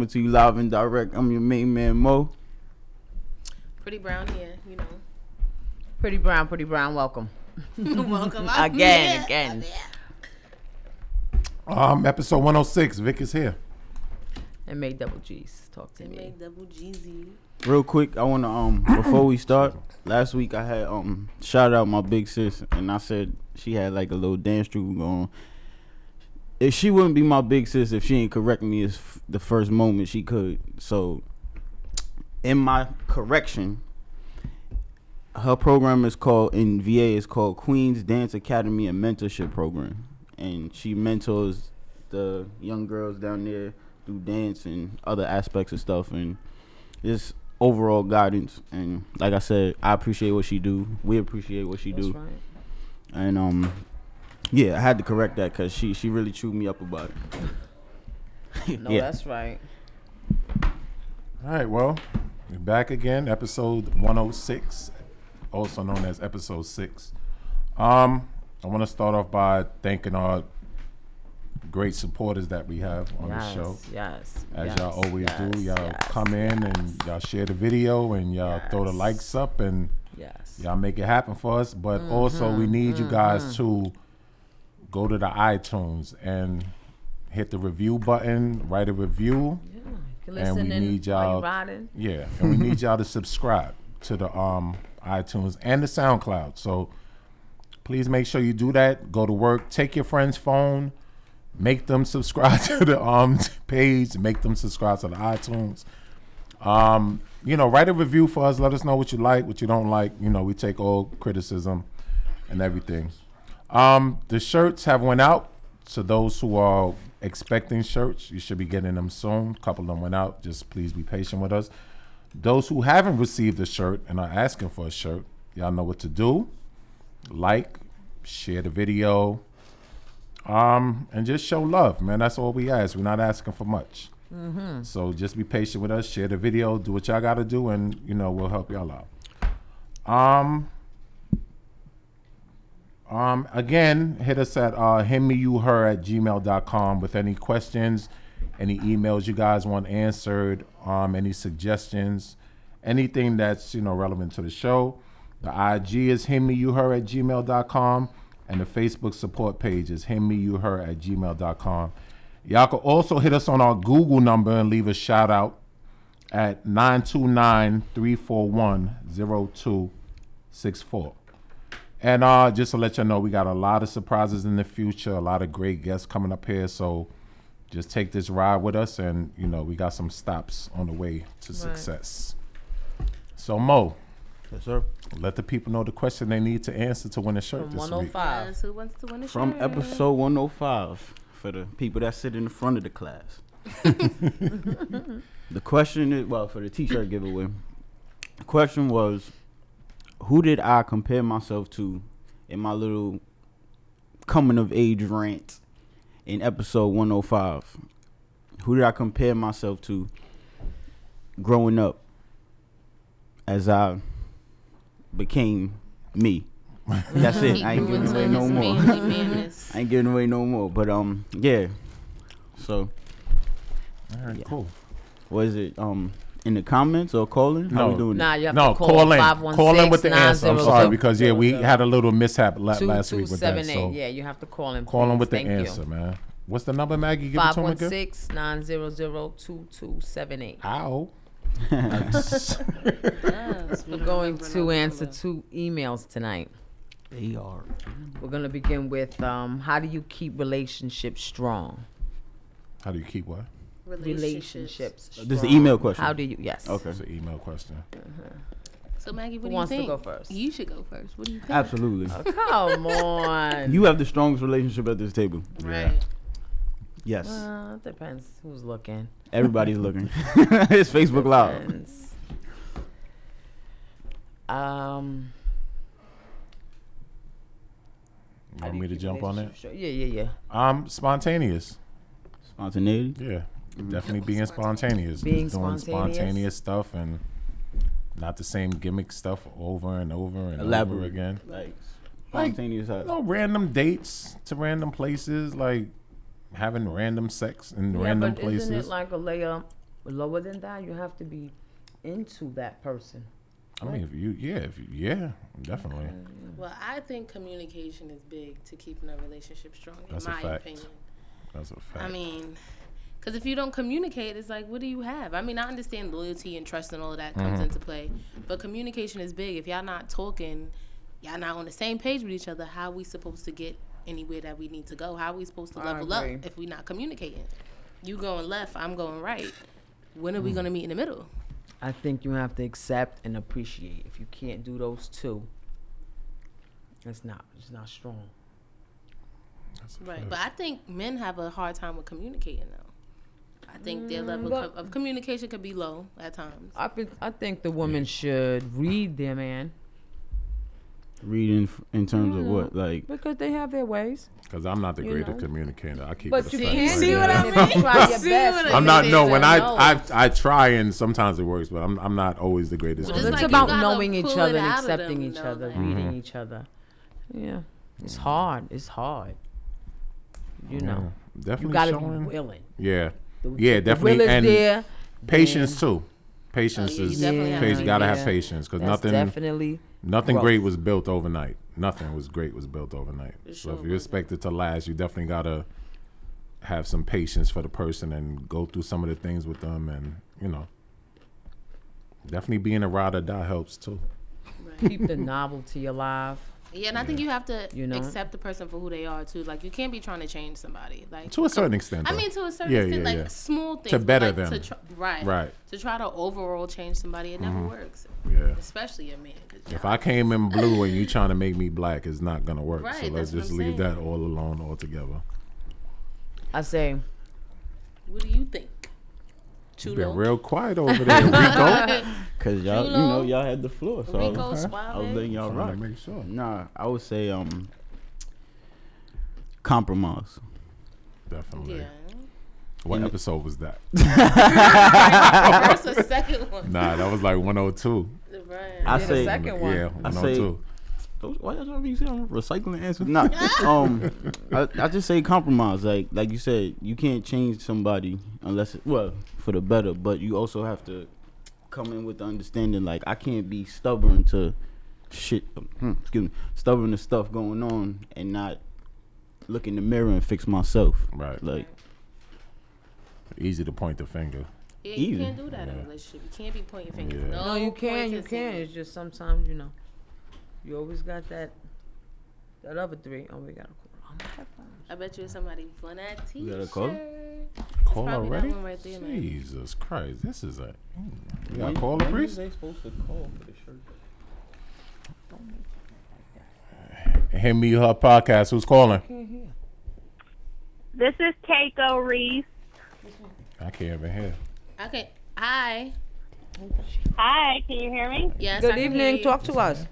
With you live and direct. I'm your main man Mo. Pretty brown here, you know. Pretty Brown, Pretty Brown, welcome. Welcome I'm Again, here. again. I'm here. Um, episode 106. Vic is here. And May Double G's talk to They me. made double Jeezy. Real quick, I wanna um before we start, last week I had um shout out my big sis and I said she had like a little dance troupe going. If she wouldn't be my big sis if she ain't correct me as f- the first moment she could. So in my correction, her program is called in VA is called Queens Dance Academy and Mentorship Program, and she mentors the young girls down there through dance and other aspects of stuff and just overall guidance. And like I said, I appreciate what she do. We appreciate what she do. That's right. And um, yeah, I had to correct that because she she really chewed me up about it. No, that's right. All right, well, we're back again. Episode 106, also known as episode 6. Um, I want to start off by thanking our great supporters that we have on yes, the show. yes. As yes, y'all always do, yes, y'all yes, come in and y'all share the video and y'all throw the Yes. likes up and Yes. y'all make it happen for us. But Mm-hmm. also, we need you guys to go to the iTunes and hit the review button, write a review. Yeah. You can And listen we in need while y'all- you riding. Yeah, and we need y'all to subscribe to the um iTunes and the SoundCloud. So please make sure you do that. Go to work, take your friend's phone, make them subscribe to the um page, make them subscribe to the iTunes. Um, you know, write a review for us. Let us know what you like, what you don't like. You know, we take all criticism and everything. Um, the shirts have went out. So those who are expecting shirts, you should be getting them soon. A couple of them went out. Just please be patient with us. Those who haven't received a shirt and are asking for a shirt, y'all know what to do. Like, share the video, um, and just show love, man. That's all we ask. We're not asking for much. So just be patient with us. Share the video. Do what y'all got to do, and you know we'll help y'all out. Um. Um, again, hit us at uh, himmeyouher at gmail.com with any questions, any emails you guys want answered, um, any suggestions, anything that's, you know, relevant to the show. The IG is himmeyouher at gmail.com and the Facebook support page is himmeyouher at gmail.com. Y'all can also hit us on our Google number and leave a shout out at 929 341 0264. And uh, just to let you know, we got a lot of surprises in the future, a lot of great guests coming up here. So just take this ride with us, and you know, we got some stops on the way to success. So Mo, yes, sir. let the people know the question they need to answer to win a shirt From this week. 105. Yes, who Uh, wants to win a From shirt? episode 105 for the people that sit in the front of the class. the question is well, for the t shirt giveaway, the question was who did I compare myself to in my little coming of age rant in episode 105? Who did I compare myself to growing up as I became me? That's it. I ain't Grew giving into away no his more. manly madness. I ain't giving away no more. But um, yeah. So All right, Yeah. cool. was it um in the comments or calling? How we No. doing? Nah, you have No, to call, call, in. 516 call in with the answer. I'm sorry 902. because yeah, we had a little mishap la- last week with that. 2278. So Yeah, you have to call in. call in please. with the Thank answer, You. man. What's the number, Maggie? Give it to him again. 516 900 2278. Ow. Yes, We're going to answer two emails tonight. They are. We're going to begin with um, how do you keep relationships strong? How do you keep what? Relationships. Uh, Strong. This is an email question. How do you? Yes. Okay. It's an email question. So Maggie, what do you wants to think? go first? You should go first. What do you think? Absolutely. Come on. You have the strongest relationship at this table. Right. Yes. Uh, it depends who's looking. Everybody's looking. it's Facebook Live. Depends. Um, You want me to jump on it? Sure. Yeah, yeah, yeah. Um, spontaneous. Spontaneity. Yeah, definitely being spontaneous. Being Just doing spontaneous. spontaneous stuff and not the same gimmick stuff over and over and over Elaborate. again. Like Like, spontaneous. You know, random dates to random places, like having random sex in Yeah, random but places. isn't it like a layer But lower than that, you have to be into that person. I mean, if you, yeah, if you, yeah, definitely. Well, I think communication is big to keeping a relationship strong, in That's a my fact. opinion. That's a fact. I mean, because if you don't communicate, it's like, what do you have? I mean, I understand loyalty and trust and all of that comes into play, but communication is big. If y'all not talking, y'all not on the same page with each other. How we supposed to get anywhere that we need to go? How we supposed to I level up agree. if we not communicating? You going left, I'm going right. When are we gonna meet in the middle? I think you have to accept and appreciate. If you can't do those two, it's not it's not strong. That's a Right. fact. But I think men have a hard time with communicating though. I think their level but- of of communication could be low at times. I think I think the woman should read their man Reading f- in terms of what, like because they have their ways. Cause I'm not the You greater know. communicator. I keep But it you a can't do fact right See there. what I mean? Try your See best. what I but I'm not. No, when I, No. I I try and sometimes it works, but I'm I'm not always the greatest. Well, It's, It's communicator. like you about gotta knowing each pull other it and out of them, accepting each though, other, like- reading each other. Yeah, it's hard. It's hard. You know, definitely you gotta showing. be willing. yeah, The- yeah, the definitely. will is and there. patience too. Patience Oh, yeah, you is. definitely have patience, to gotta be- have patience because That's nothing definitely nothing growth. great was built overnight. Nothing was great was built overnight. For so if sure, you but- expect it to last, you definitely gotta have some patience for the person and go through some of the things with them, and you know, definitely being a ride or die helps too. keep the novelty alive. Yeah, and I think you have to You know? accept the person for who they are too. Like you can't be trying to change somebody. Like To a certain extent, I though. mean, to a certain Yeah, extent, yeah, like yeah. small things but, better like, To them. try, right, Right. To try to overall change somebody, it never works. yeah. Especially a man. 'cause If y'all- I came in blue and you trying to make me black, it's not gonna work. Right, so let's that's what just I'm leave saying. that all alone altogether. I say what do you think? Chulo, Been real quiet over there, Rico. because y'all, you know, y'all had the floor, so I Rico was, I was Suave. letting y'all rock. Trying to make sure. Nah, I would say um, compromise. Definitely. Yeah. What In the- episode was that? First or second one. Nah, that was like 102. Right. I the say second- one. Yeah, I 102. Those- Why y'all be saying I'm recycling answers? Nah, um, I, I just say compromise. Like like you said, you can't change somebody unless it, well for the better. But you also have to come in with the understanding. Like I can't be stubborn to shit. hmm, Excuse me, stubborn to stuff going on and not look in the mirror and fix myself. Right. Like Easy to point the finger. Yeah, you Even. can't do that in a Yeah. relationship. You can't be pointing fingers. Yeah. No, No, Oh, you point can, you to can. see. It's just sometimes, you know, you always got that that other three. Oh, we gotta call. Oh, my headphones. I bet you it's somebody for that t-shirt. You got a call? Call probably that already? one right there, man. Jesus Christ. This is a. Mm. You got a call, Priest? they supposed to call for the shirt? Hit me her podcast. Who's calling? This is Keiko Reese. I can't even hear. Okay. Hi. Hi, can you hear me? Yes. I Good can hear evening. you. Talk to us.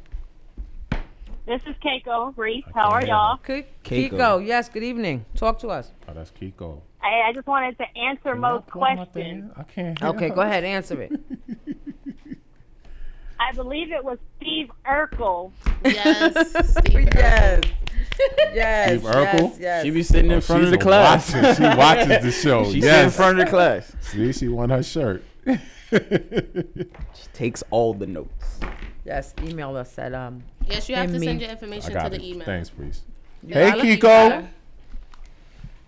This is Keiko Reese. How are y'all? Ki- Keiko. Kiko. Yes. Good evening. Talk to us. Oh, that's Kiko. Hey, I just wanted to answer most Can I plug my questions. thing in? I can't hear. Okay, her. go ahead. Answer it. I believe it was Steve Urkel. Yes. Steve. yes. Yes. Steve Urkel? Yes. yes. She be sitting in Oh, front of the she's a class. watcher. She watches the show. She sit in yes. front of the class. See, she won her shirt. She takes all the notes. yes. Email us at um. Yes, you have And to send me. your I information to got the it. email. Thanks, Priest. I Hey, love you, Kiko. sir.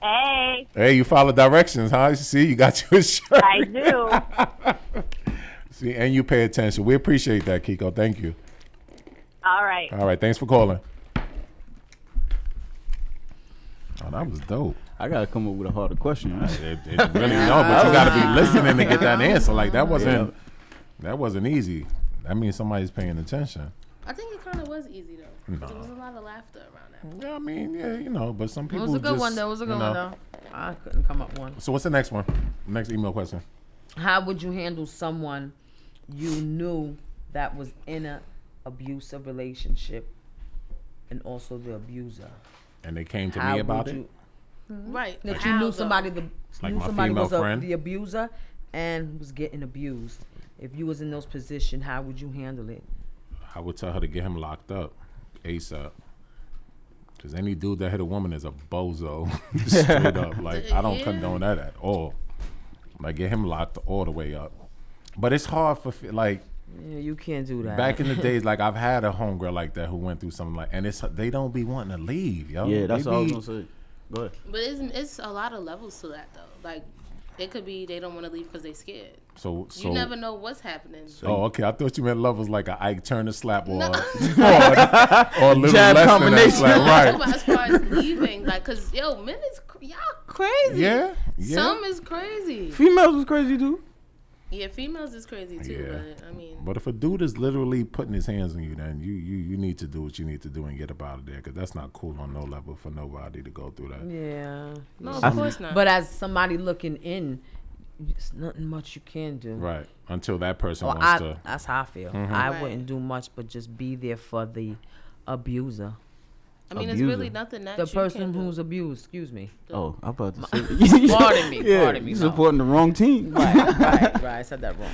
Hey, Hey, you follow directions, huh? You See, you got your shirt. I do. See, and you pay attention. We appreciate that, Kiko. Thank you. All right. All right, thanks for calling. Oh, that was dope. I gotta come up with a harder question. right? It, it really no, but you got to be listening to get that answer. Like that wasn't that wasn't easy. That means somebody's paying attention. I think it kind of was easy though. There was a lot of laughter around that. Yeah, I mean, yeah, you know, but some It people was a good just, one though. It was a you good know. one though. I couldn't come up one. So what's the next one? Next email question. How would you handle someone you knew that was in a abusive relationship, and also the abuser? And they came to How me about would it. you- Right. that How, you though? knew somebody the like knew my somebody female was a, friend. the abuser and was getting abused. If you was in those position, how would you handle it? I would tell her to get him locked up ASAP. Cause any dude that hit a woman is a bozo, straight up. Like I don't Yeah. condone that at all. Like get him locked all the way up. But it's hard for fe- like Yeah, you can't do that. back in the days. Like I've had a homegirl like that who went through something like, and it's they don't be wanting to leave, yo. Yeah, that's They all I was be- gonna say. Go ahead. But it's, it's a lot of levels to that though. Like it could be they don't want to leave because they scared. So so. you never know what's happening. Oh, okay. I thought you meant love was like a Ike Turner slap or, No. or, or a little Jab less than that combination. slap, Talk about right? as far as leaving, like, cause yo, men is cr- y'all crazy. Yeah, yeah. Some is crazy. Females was crazy too. Yeah, females is crazy too. Yeah. But I mean, But if a dude is literally putting his hands on you, then you you you need to do what you need to do and get up out of there because that's not cool on no level for nobody to go through that. yeah. no, of course not. But as somebody looking in, it's nothing much you can do. Right. Until that person Well, wants I, to. Mm-hmm. that's how I feel. I Right. wouldn't do much but just be there for the abuser, I mean, it's abuser. really nothing that the you person can do. who's abused. Excuse me. Oh, I'm about to say. Pardon me, yeah, pardon me, You no. supporting the wrong team. Right, right, right. I said that wrong.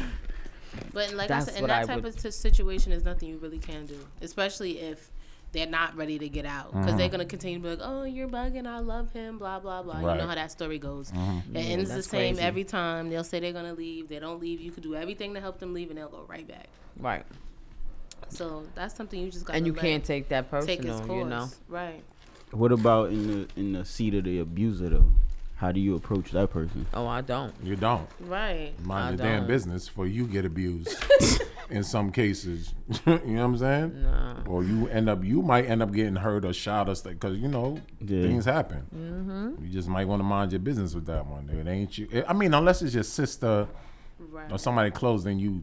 But like That's I said, in what that I type would- of t- situation, is nothing you really can do, especially if they're not ready to get out because Mm-hmm. they're gonna continue to be like, "Oh, you're bugging. I love him." Blah blah blah. You Right. know how that story goes. It ends the Mm-hmm. that's same crazy. every time. They'll say they're gonna leave. They don't leave. You could do everything to help them leave, and they'll go right back. Right. So that's something you just got. And you can't take that take personal, his course, you know. right? What about in the in the seat of the abuser though? How do you approach that person? Oh, I don't. You don't. Right. Mind I your damn don't. business for you get abused in some cases. you know what I'm saying? Nah. Or you end up, you might end up getting hurt or shot or because you know Yeah. things happen. Mm-hmm. You just might want to mind your business with that one. It ain't you. I mean, unless it's your sister Right. or somebody close, then you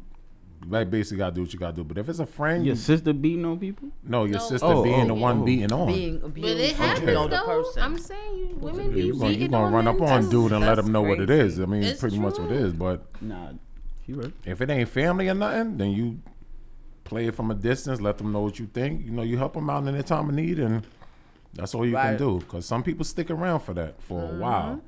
like basically gotta do what you gotta do. But if it's a friend, Your you sister beating on people? No, your No. sister Oh, being oh, oh. the one beating on. Being abused, but it happens Okay. you know the though. person. I'm saying you women be you gonna, you beating gonna on run up men, on too. dude and let That's him know what it is. I mean, It's pretty much what it true. is. But Nah, she right. if it ain't family or nothing, then you play it from a distance. Let them know what you think. You know, you help them out in their time of need, and that's all you Right. can do. Because some people stick around for that for Mm-hmm. a while,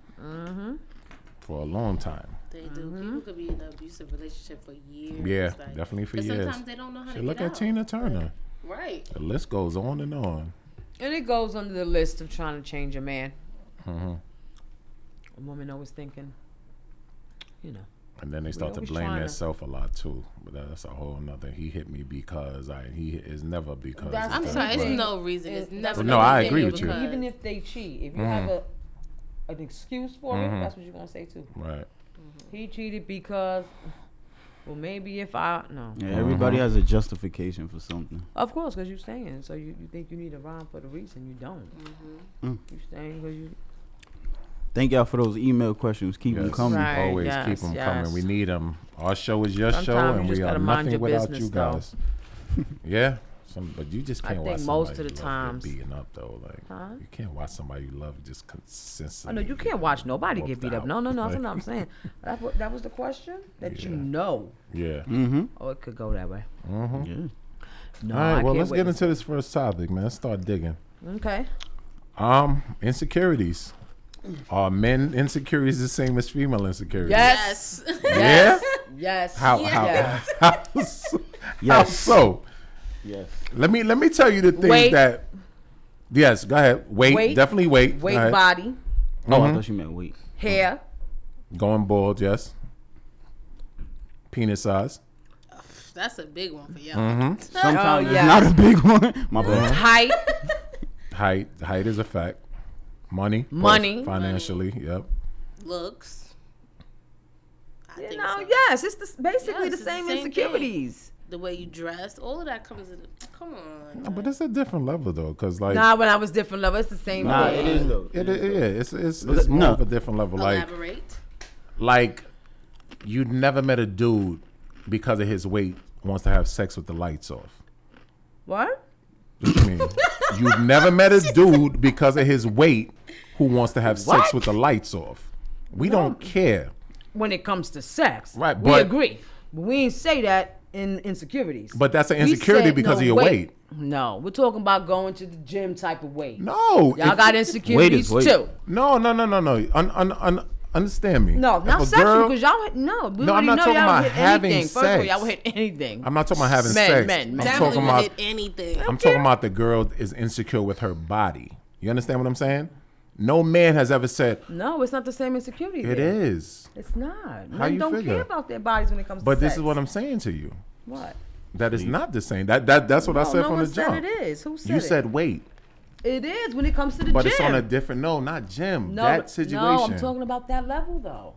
for a long time. They do. Mm-hmm. People could be in an abusive relationship for years. Yeah, like- definitely for But years. sometimes they don't know how Shit, to look get at out. Tina Turner. Right. The list goes on and on. And it goes under the list of trying to change a man. Mm-hmm. A woman always thinking, you know. And then they start to always blame tryna- themselves a lot too. But that's a whole nother. He hit me because I. He is never because. That's- it's I'm Okay. that, sorry. It's but- no reason. It's Well, never. no, no I reason agree with you. Mm-hmm. because- Even if they cheat, if you have a an excuse for it, that's what you're gonna say too. Right. He cheated because, well, maybe if I no, Yeah, everybody has a justification for something. of course, because you're staying. So you, you think you need a rhyme for the reason you don't. Mm. You staying because you Thank y'all for those email questions. Keep them Yes. coming. Right. Always keep 'em yes, keep them coming. We yes. need them. Our show is your Sometimes show, you and just we are gotta mind nothing your without business, you though. guys. yeah, some, but you just I can't think watch most somebody of the you love times- get beaten up though. Like Huh? you can't watch somebody you love just Oh consistently. no, you get can't watch nobody get whooped beat up. out. No, no, no. That's Like, what I'm saying. That wa- that was the question that you Yeah. know. Yeah. Mm-hmm. Oh, it could go that way. Yeah. No, Mm-hmm. All Oh, I right. well, can't let's wait get to into this first topic, man. Let's start digging. see- Okay. Um, insecurities. Are men insecurities the same as female insecurities? Yes. Yes. Yeah. Yes. How? Yes. How? How, so, how Yes. so? Yes. Let me let me tell you the things Weight. that. Yes, go ahead. Wait, Weight. definitely wait. Weight, body, Oh, I thought you meant wait. hair, Mm-hmm. Going bald, yes. Penis size. That's a big one for y'all. Mm-hmm. Oh, Sometimes yes. it's not a big one. My bad. height, Height. Height is a fact. Money. both Money. Financially, yep. Looks. I you think know. so. Yes, it's the, s- basically Yes, the it's the same same thing. insecurities. The way you dress, all of that comes in. The, come on. No, but it's a different level though, because like Nah, when I was different level, it's the same Nah, thing. it is though. it, it, yeah, it's it's, But it's the- more no. of a different level. Like Elaborate. like you'd never met a dude because of his weight wants to have sex with the lights off. What? What you mean? You've never met a dude because of his weight who wants to have sex What? with the lights off. We don't care. When it comes to sex, Right, We but- agree, but we ain't say that in insecurities. But that's an We insecurity said because no of your weight. No, we're talking about going to the gym type of weight. No. Y'all if- got insecurities weight. too. No, no, no, no, no. Un, un, un, understand me. No, If not a sexual girl- because y'all no. We No, already I'm not know talking y'all about hit having anything. First of all, sex. y'all would hit anything. I'm not talking about having Men, sex. men, I'm men. Definitely talking would about hit anything. I'm talking about the girl is insecure with her body. You understand what I'm saying? No man has ever said No, it's not the same as security. there. it is. It's not. Men you don't figure? care about their bodies when it comes But to this sex. is what I'm saying to you. What? That is not the same. That that that's what I No, said no from one the said jump. it is. Who said you it? said wait, It is when it comes to the but gym. it's on a different. No, not Jim. no, that situation. No, I'm talking about that level though.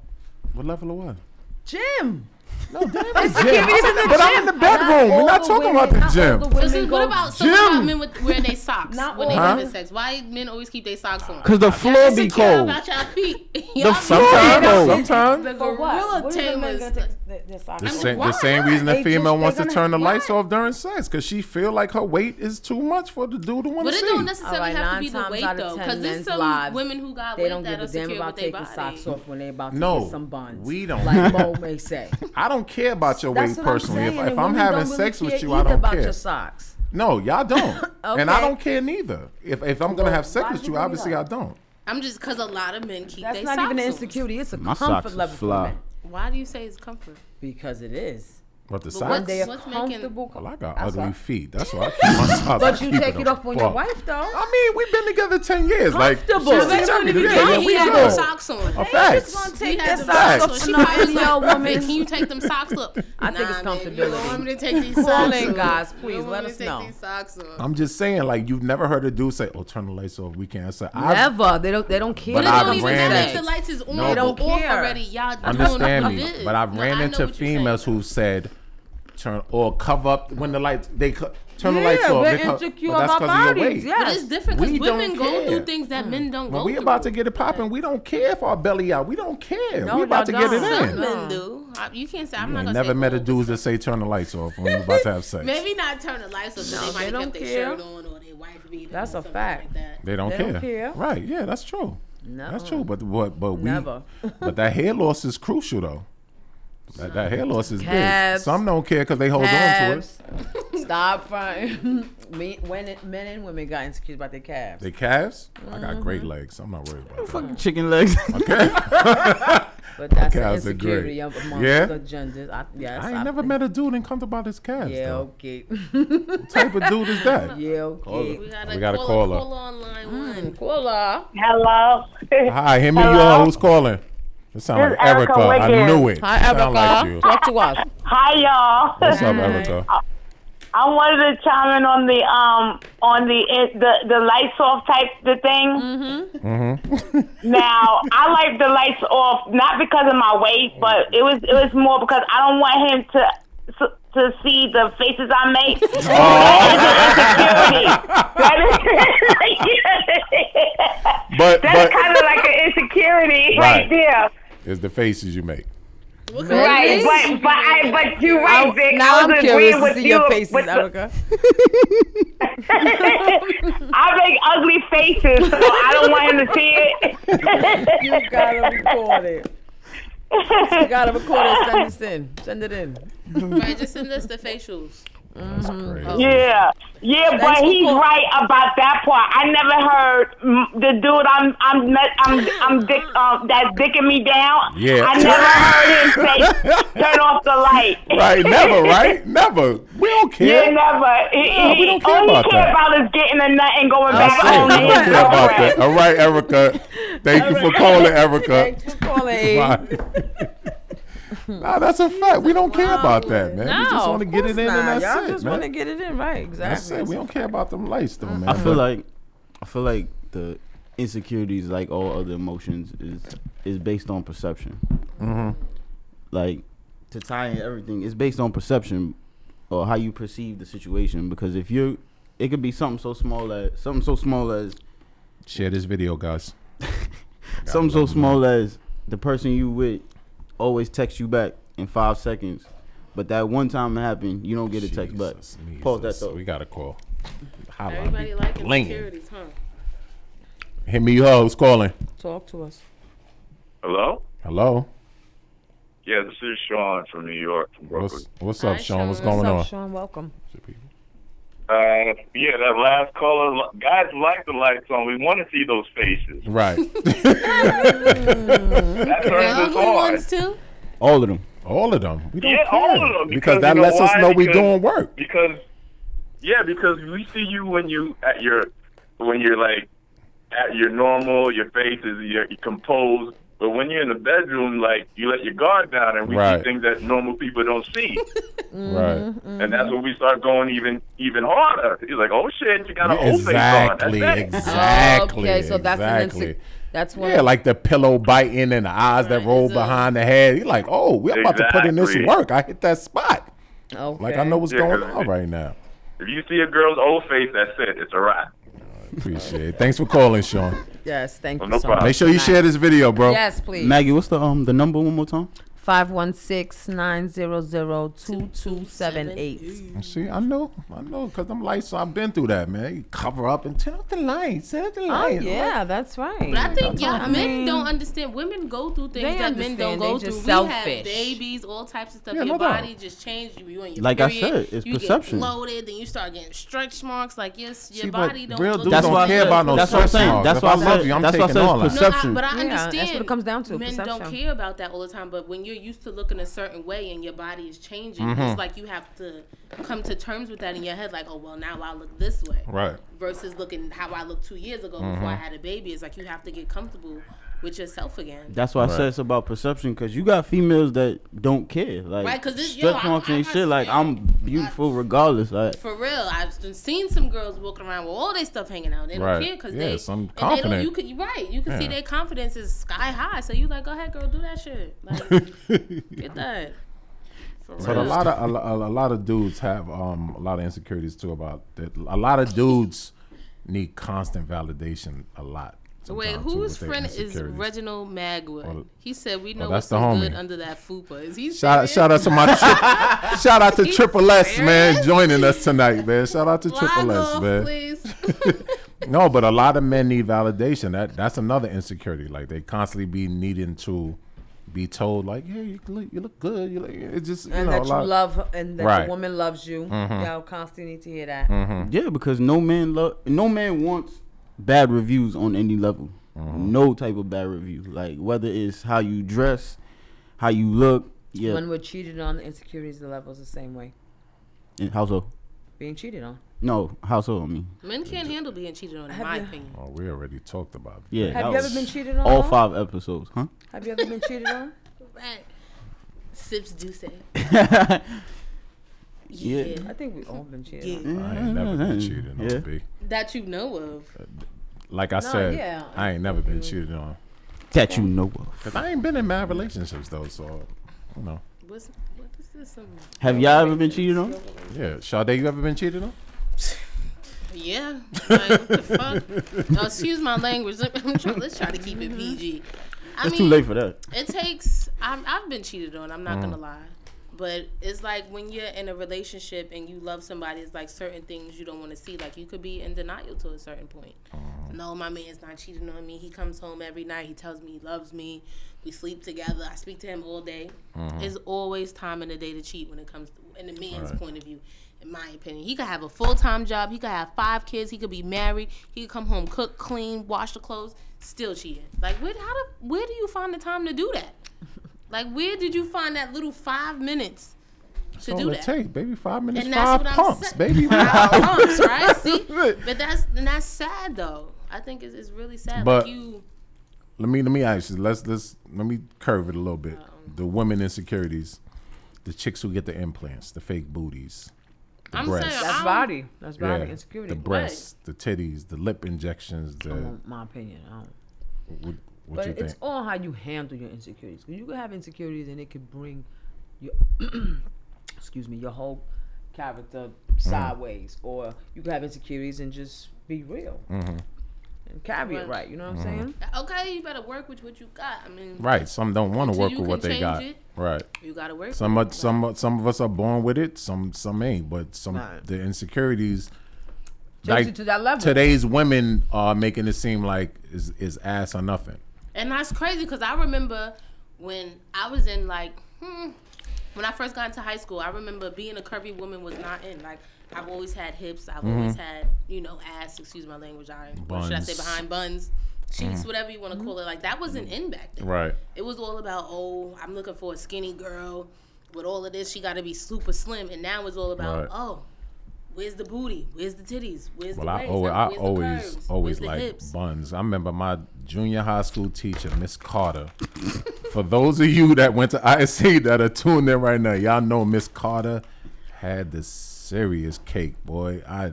what level of what? Gym. No, damn it, Security Jim. is in the but I'm gym. in the bedroom. We're all not the talking women- about the not all gym. the So women see, go- what about some about Gym. men with wearing their socks Not when they all. having Huh? sex? Why men always keep their socks on? Cause the floor be Insecure cold. About y'all feet. The Y'all floor be Sometimes, be cold. sometimes. The For what? gorilla What are the men tamers. gonna take th- their socks I mean, The off? same, why the same not? reason the They just- female they wants to gonna- turn the why? lights off during sex because she feel like her weight is too much for the dude to want But to it see. don't necessarily All right, have to nine be the times weight out of though, ten because there's men's some lives, women who got They weight don't that give are a damn secure about with their taking body. socks off when they about to No, get some buns. we don't. Like Mo may say. I don't care about your That's weight what I'm personally. saying. If, if and I'm women having don't really sex with care you, I either don't about care. your socks. No, y'all don't. And I Okay. don't care neither. If if I'm gonna Well, have sex why with did you you, bring it obviously I up? don't. I'm just because a lot of men keep That's their not socks even an on. insecurity. It's a My socks comfort is level fly. for men. Why do you say it's comfort? Because it is. But the But socks. what- They are What's making- comfortable. Well, I got That's ugly why- feet. That's why I keep my socks. But I you keep take it it off on your fuck. wife though. I mean, we've been together ten years. Like, Comfortable. she's But they been don't together. even Yeah, care. yeah, Why He we he had had no no good. socks on? Oh, They facts. just gonna He take had their the socks socks off. on. Facts. She She probably not any like, old "Vic, woman. can you take them socks off? I think it's man, You don't comfortability. want me to take these socks Call off. in, guys, You please, don't want let me to us take know. these socks off. I'm just saying, like, you've never heard a dude say, "Oh, turn the lights off. We can't." I said, I've- Never. They don't. They don't care. But But it I've don't even ran matter into- if the lights is on No, or but- off care. already. Y'all understand doing me, it. but I've No, ran I know into what you're saying. females who said turn or cover up when the lights they cu- turn the Yeah, lights off. we're they co- insecure but that's about 'cause of your bodies, weight. yeah. But it's different because We don't women go care. through things that men don't go When through. we about to get it popping, we don't care if our belly out. We don't care. No, we about to y'all get it don't. Some in. No. men do. I, you can't say I'm I not gonna never say met a all, dude that say turn the lights off when we about to have but sex. Maybe not turn the lights off. so No, they might they have don't kept their care. shirt on or their wife beating. That's or a something fact. Like that. They don't They care. don't care. Right? Yeah, that's true. No. That's true. But what? But we. Never. but that hair loss is crucial though. That, that hair loss is big. Calves. Some don't care because they hold on to it. Calves. Stop fronting. Me, when it, men and women got insecure about their calves. They calves. I Mm-hmm. got great legs. I'm not worried about that. Fucking chicken legs. But that's an calves are great. insecurity of- amongst Yeah? the genders. I, yes, I ain't never think- met a dude and come about his calves. Yeah, though. okay. What type of dude is that? yeah, okay. We gotta, We gotta call, call her. call Mm. online one. Cola. Hello. Hi, hit me Hello? on. Who's calling? It sounds like This is Erica Erica. I Wiggins. knew it. Hi, Sound Erica. like you. Talk to us. Hi, y'all. What's up, Erica? I wanted to chime in on the um on the it, the the lights off type the thing. Mm-hmm. Mm-hmm. now I like the lights off not because of my weight, but it was it was more because I don't want him to to see the faces I make. Oh. That is- But but That's kind of like an insecurity Right. right, there. it's the faces you make. What kind of Right, face but but I, but you're right, Vic. now I I'm was curious agreeing to with see you. your faces, with the- Erica. I make ugly faces, so I don't want him to see it. You gotta record it. You gotta record it. Send this in. Send it in. Right, just send us the facials. That's Mm-hmm. crazy. Oh, Yeah, yeah, Thanks but for he's calling. right about that part. I never heard mm, the dude I'm I'm not, I'm I'm dick um, that's dicking me down. Yeah. I never heard him say turn off the light. Right? Never. Right? Never. We don't Yeah, care. never. He, we he, don't care all he about care that. about is getting a nut and going That's back it. We home to don't his care about girlfriend. that. All right, Erica. Thank you for calling, Erica. Thanks for calling. Bye. nah, that's a fact. We don't care about that, man. we just No, want to of get it course in, not. and that's Y'all it, just man. want to get it in, right? Exactly. That's it. We don't care about them lights, though, man. I feel like I feel like the insecurities, like all other emotions, is is based on perception. Mm-hmm. Like to tie in everything, it's based on perception or how you perceive the situation. Because if you, it could be something so small as something so small as share this video, guys. something so small as the person you with always texts you back in five seconds. But that one time it happened, you don't get a text back. Jesus, Pause that Jesus. though. We got a call. Holla. Everybody like Blinging. insecurities, huh? Hit me up. Who's calling? Talk to us. Hello? Hello. Yeah, this is Sean from New York, from Brooklyn. What's What's up, Hi, Sean? What's Sean. going What's on? up, Sean? Welcome. Uh, yeah, that last caller, li- guys like the lights on. We want to see those faces. Right. That turns The us ugly on. ones too. All of them. all of them. We don't Yeah, care. all of them, Because, because that you know lets us why? know we Because- doing work. Because, yeah, because we see you when you at your when you're like at your normal, your face is you're, you're composed. But when you're in the bedroom, like you let your guard down, and we Right. see things that normal people don't see, Right. Mm-hmm, and that's when we start going even even harder. He's like, "Oh shit, you got a whole face on." That's Exactly. it. Exactly. okay, so that's exactly. an inse- that's one. Yeah, like the pillow biting and the eyes that Right, roll it's a- behind the head. You're like, oh, we're about to put in this Exactly. work. I hit that spot. okay. Like I know what's Yeah, going 'cause on it- right now. If you see a girl's old face, that's it. It's a wrap. Appreciate it. Thanks for calling, Sean. Yes, thank Oh, you no so problem. Make much. sure you share this video, bro. Yes, please. Maggie, what's the um the number one more time? 516-900-2278. See, I know, I know, cause I'm lights. I've been through that, man. You cover up and turn up the lights, turn up the Oh lights. yeah, that's But I right. think y'all, men don't understand. Women go through things They that men don't understand. go They just through. We selfish. have babies, all types of stuff. Yeah, your no doubt. body just changed. You, you on your Like I period, said, it's you perception. Get bloated, then you start getting stretch marks. Like yes, your See, but body don't. real look dudes the don't way why I care it said- about is. no That's what I'm stretch saying. marks. That's If what I I love said. you, I'm That's what I taking said. all that. is No, No, Perception. no, but I Yeah, that's understand. what it comes down to, Men perception. don't care about that all the time, but when you're used to looking a certain way and your body is changing, Mm-hmm. it's like you have to come to terms with that in your head. Like, oh well, now I look this way. Right. Mm-hmm. Versus looking how I looked two years ago before I had a baby. It's like you have to get comfortable with yourself again. That's why I said it's about perception because you got females that don't care, like Right, 'cause this- yo, stretch I- marks I and got shit. Like I'm some- beautiful regardless. Like For real, I've s- seen some girls walking around with all their stuff hanging out. They don't Right. care because Yeah, they some and they confident. don't- You could you right. You can see Yeah. their confidence is sky high. So you like, go ahead, girl, do that shit. Like, get that. For But a lot of a, lo- a lot of dudes have um a lot of insecurities too about that. A lot of dudes need constant validation a lot. Wait, sometimes, too, whose with their friend is insecurities. Reginald Magwood? Well, he said we know Oh, that's what's the some good homie. under that fupa. Is he Shout, serious? shout out to my tri- shout out to Triple S man serious? joining us tonight, man. Shout out to Log Triple S off, man. please. No, but a lot of men need validation. That that's another insecurity. Like they constantly be needing to be told, like, "Yeah, you look, you look good." You look, it's just you And know a that you lot. love and that Right. the woman loves you. Y'all constantly need to hear that. Mm. yeah, because no man love, no man wants bad reviews on any level. No type of bad review. Like whether it's how you dress, how you look, yeah, When we're cheated on, the insecurities the levels the same way. and how so? Being cheated on. No, how so? I mean, Men can't handle being cheated on, in Have my you- opinion. oh, we already talked about. That. yeah. Have that you ever was been cheated on? All Ron? five episodes, huh? Have you ever been cheated on? Right. Sips do say. Yeah. I think we all been cheated on. Yeah. I ain't never been cheated on. Yeah. B. That you know of. Like I said, yeah. I ain't never been cheated on. That you know of. Cause I ain't been in mad relationships though, so you know. What's, what is this? Some, Have y'all ever been cheated on? Yeah, Sade, you ever been cheated on? yeah. Like, what the fuck? No, excuse my language. I'm trying- Let's try to keep it PG. I It's too late for that. it takes I'm, i've been cheated on i'm not gonna lie but it's like when you're in a relationship and you love somebody it's like certain things you don't want to see like you could be in denial to a certain point no my man's not cheating on me he comes home every night he tells me he loves me we sleep together i speak to him all day Mm-hmm. it's always time in the day to cheat when it comes to, in the man's point of view in my opinion he could have a full-time job he could have five kids he could be married he could come home cook clean wash the clothes still cheating like where, how do, where do you find the time to do that like, where did you find that little five minutes to All do it that? take, baby, five minutes, And that's five what I'm pumps, saying. baby. Five pumps, right? See, but that's and that's sad though. I think it's, it's really sad. But- like you, let me let me ask you. Let's let's let me curve it a little bit. The women insecurities, the chicks who get the implants, the fake booties, the I'm breasts, saying That's I'm- body. That's body yeah, insecurity. the breasts, the titties, the lip injections. The I Oh. want my opinion. I don't. what, what But you it's think? all how you handle your insecurities. 'Cause you can have insecurities and it could bring your, excuse me, your whole character Mm. sideways. Or you can have insecurities and just be real Mm-hmm. and carry it Right. right. You know what I'm saying? okay, you better work with what you got. I mean, Right. Some don't want to Until work you with what can they change got. it. Right. you gotta work. Some with are, it. some some of us are born with it. Some some ain't. But some Right. the insecurities. Takes you to that level. Today's women are making it seem like is is ass or nothing. And that's crazy because I remember when I was in like hmm, when I first got into high school. I remember being a curvy woman was not in. Like I've always had hips. I've always had you know ass. Excuse my language. I or should I say Mm-hmm. Buns. Mm-hmm. behind buns, cheeks, whatever you want to call it. Like that wasn't in back then. Right. It was all about oh, I'm looking for a skinny girl with all of this. She got to be super slim. And now it's all about Right. oh, Where's the booty? Where's the titties? Where's Well, the I waist? always, Like, I where's the always, curves? always Where's the like hips? buns. I remember my junior high school teacher, Miss Carter. For those of you that went to ISA that are tuned in right now, y'all know Miss Carter had the serious cake, boy. I,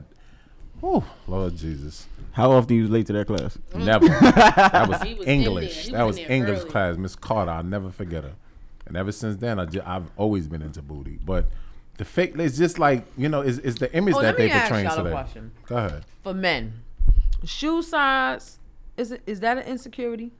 oh Lord Jesus, How often you was late to that class? never. That was, He was in there. English. He That was was in there English early. class, Miss Carter. I'll never forget her. And ever since then, I ju- I've always been into booty, but. The fake, it's just like you know, is is the image Oh, let that they me ask portraying y'all a today. question. Go ahead. For men, shoe size is it, is that an insecurity?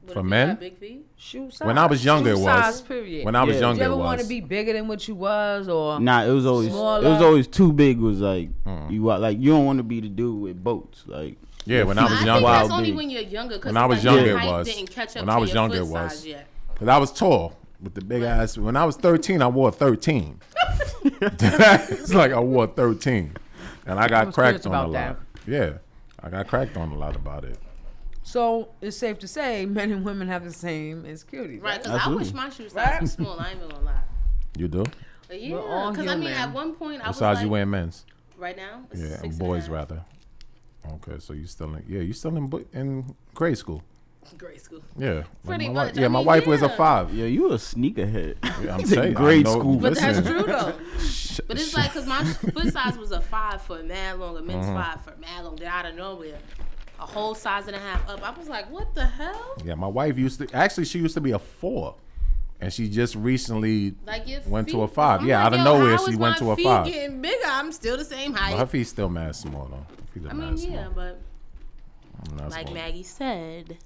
What if For you men? got Big feet? Shoe size. When I was younger, shoe it Size, was. period. When I was Yeah. Did younger, you ever it want to was. be bigger than what you was, or Nah, it was always it was Smaller. always too big. Was like Mm. you wa- like you don't want to be the dude with boats. Like yeah, when I was I younger, think Wild that's only dude. when you're younger. 'cause When I it's was like your younger, it height was. Didn't catch up When to I was your younger, foot it was. size yet. because I was tall with the big ass. When I was thirteen, I wore thirteen. it's like I wore thirteen, and I got was cracked curious on a about lot. Yeah, I got cracked on a lot about it. so? It's safe to say men and women have the same insecurities. Right, because I Absolutely. wish my shoe size was small. I ain't even gonna lie. You do? But all yeah, because I mean, human. at one point I What was size like, you wear, men's? right now. it's Yeah, six and and a boys half. rather. Okay, so you still in? Yeah, you still in bo- in grade school? Grade school. Yeah, Pretty my much. Wife, yeah, I my mean, wife was a yeah. five. yeah, you a sneakerhead. Yeah, I'm In saying, I grade know- school. But listen, that's true though. But it's like, cause my foot size was a five for mad long, a men's Uh-huh. five for mad long. Then out of nowhere, a whole size and a half up. I was like, what the hell? Yeah, my wife used to actually she used to be a four, and she just recently Like your Went to feet- a five. I'm Yeah, like, out of yo, nowhere, how she is went my to a feet five. Getting bigger, I'm still the same height. well, her feet still mad small though. Feet are I mad mean, small. yeah, but Mad like small. Maggie said,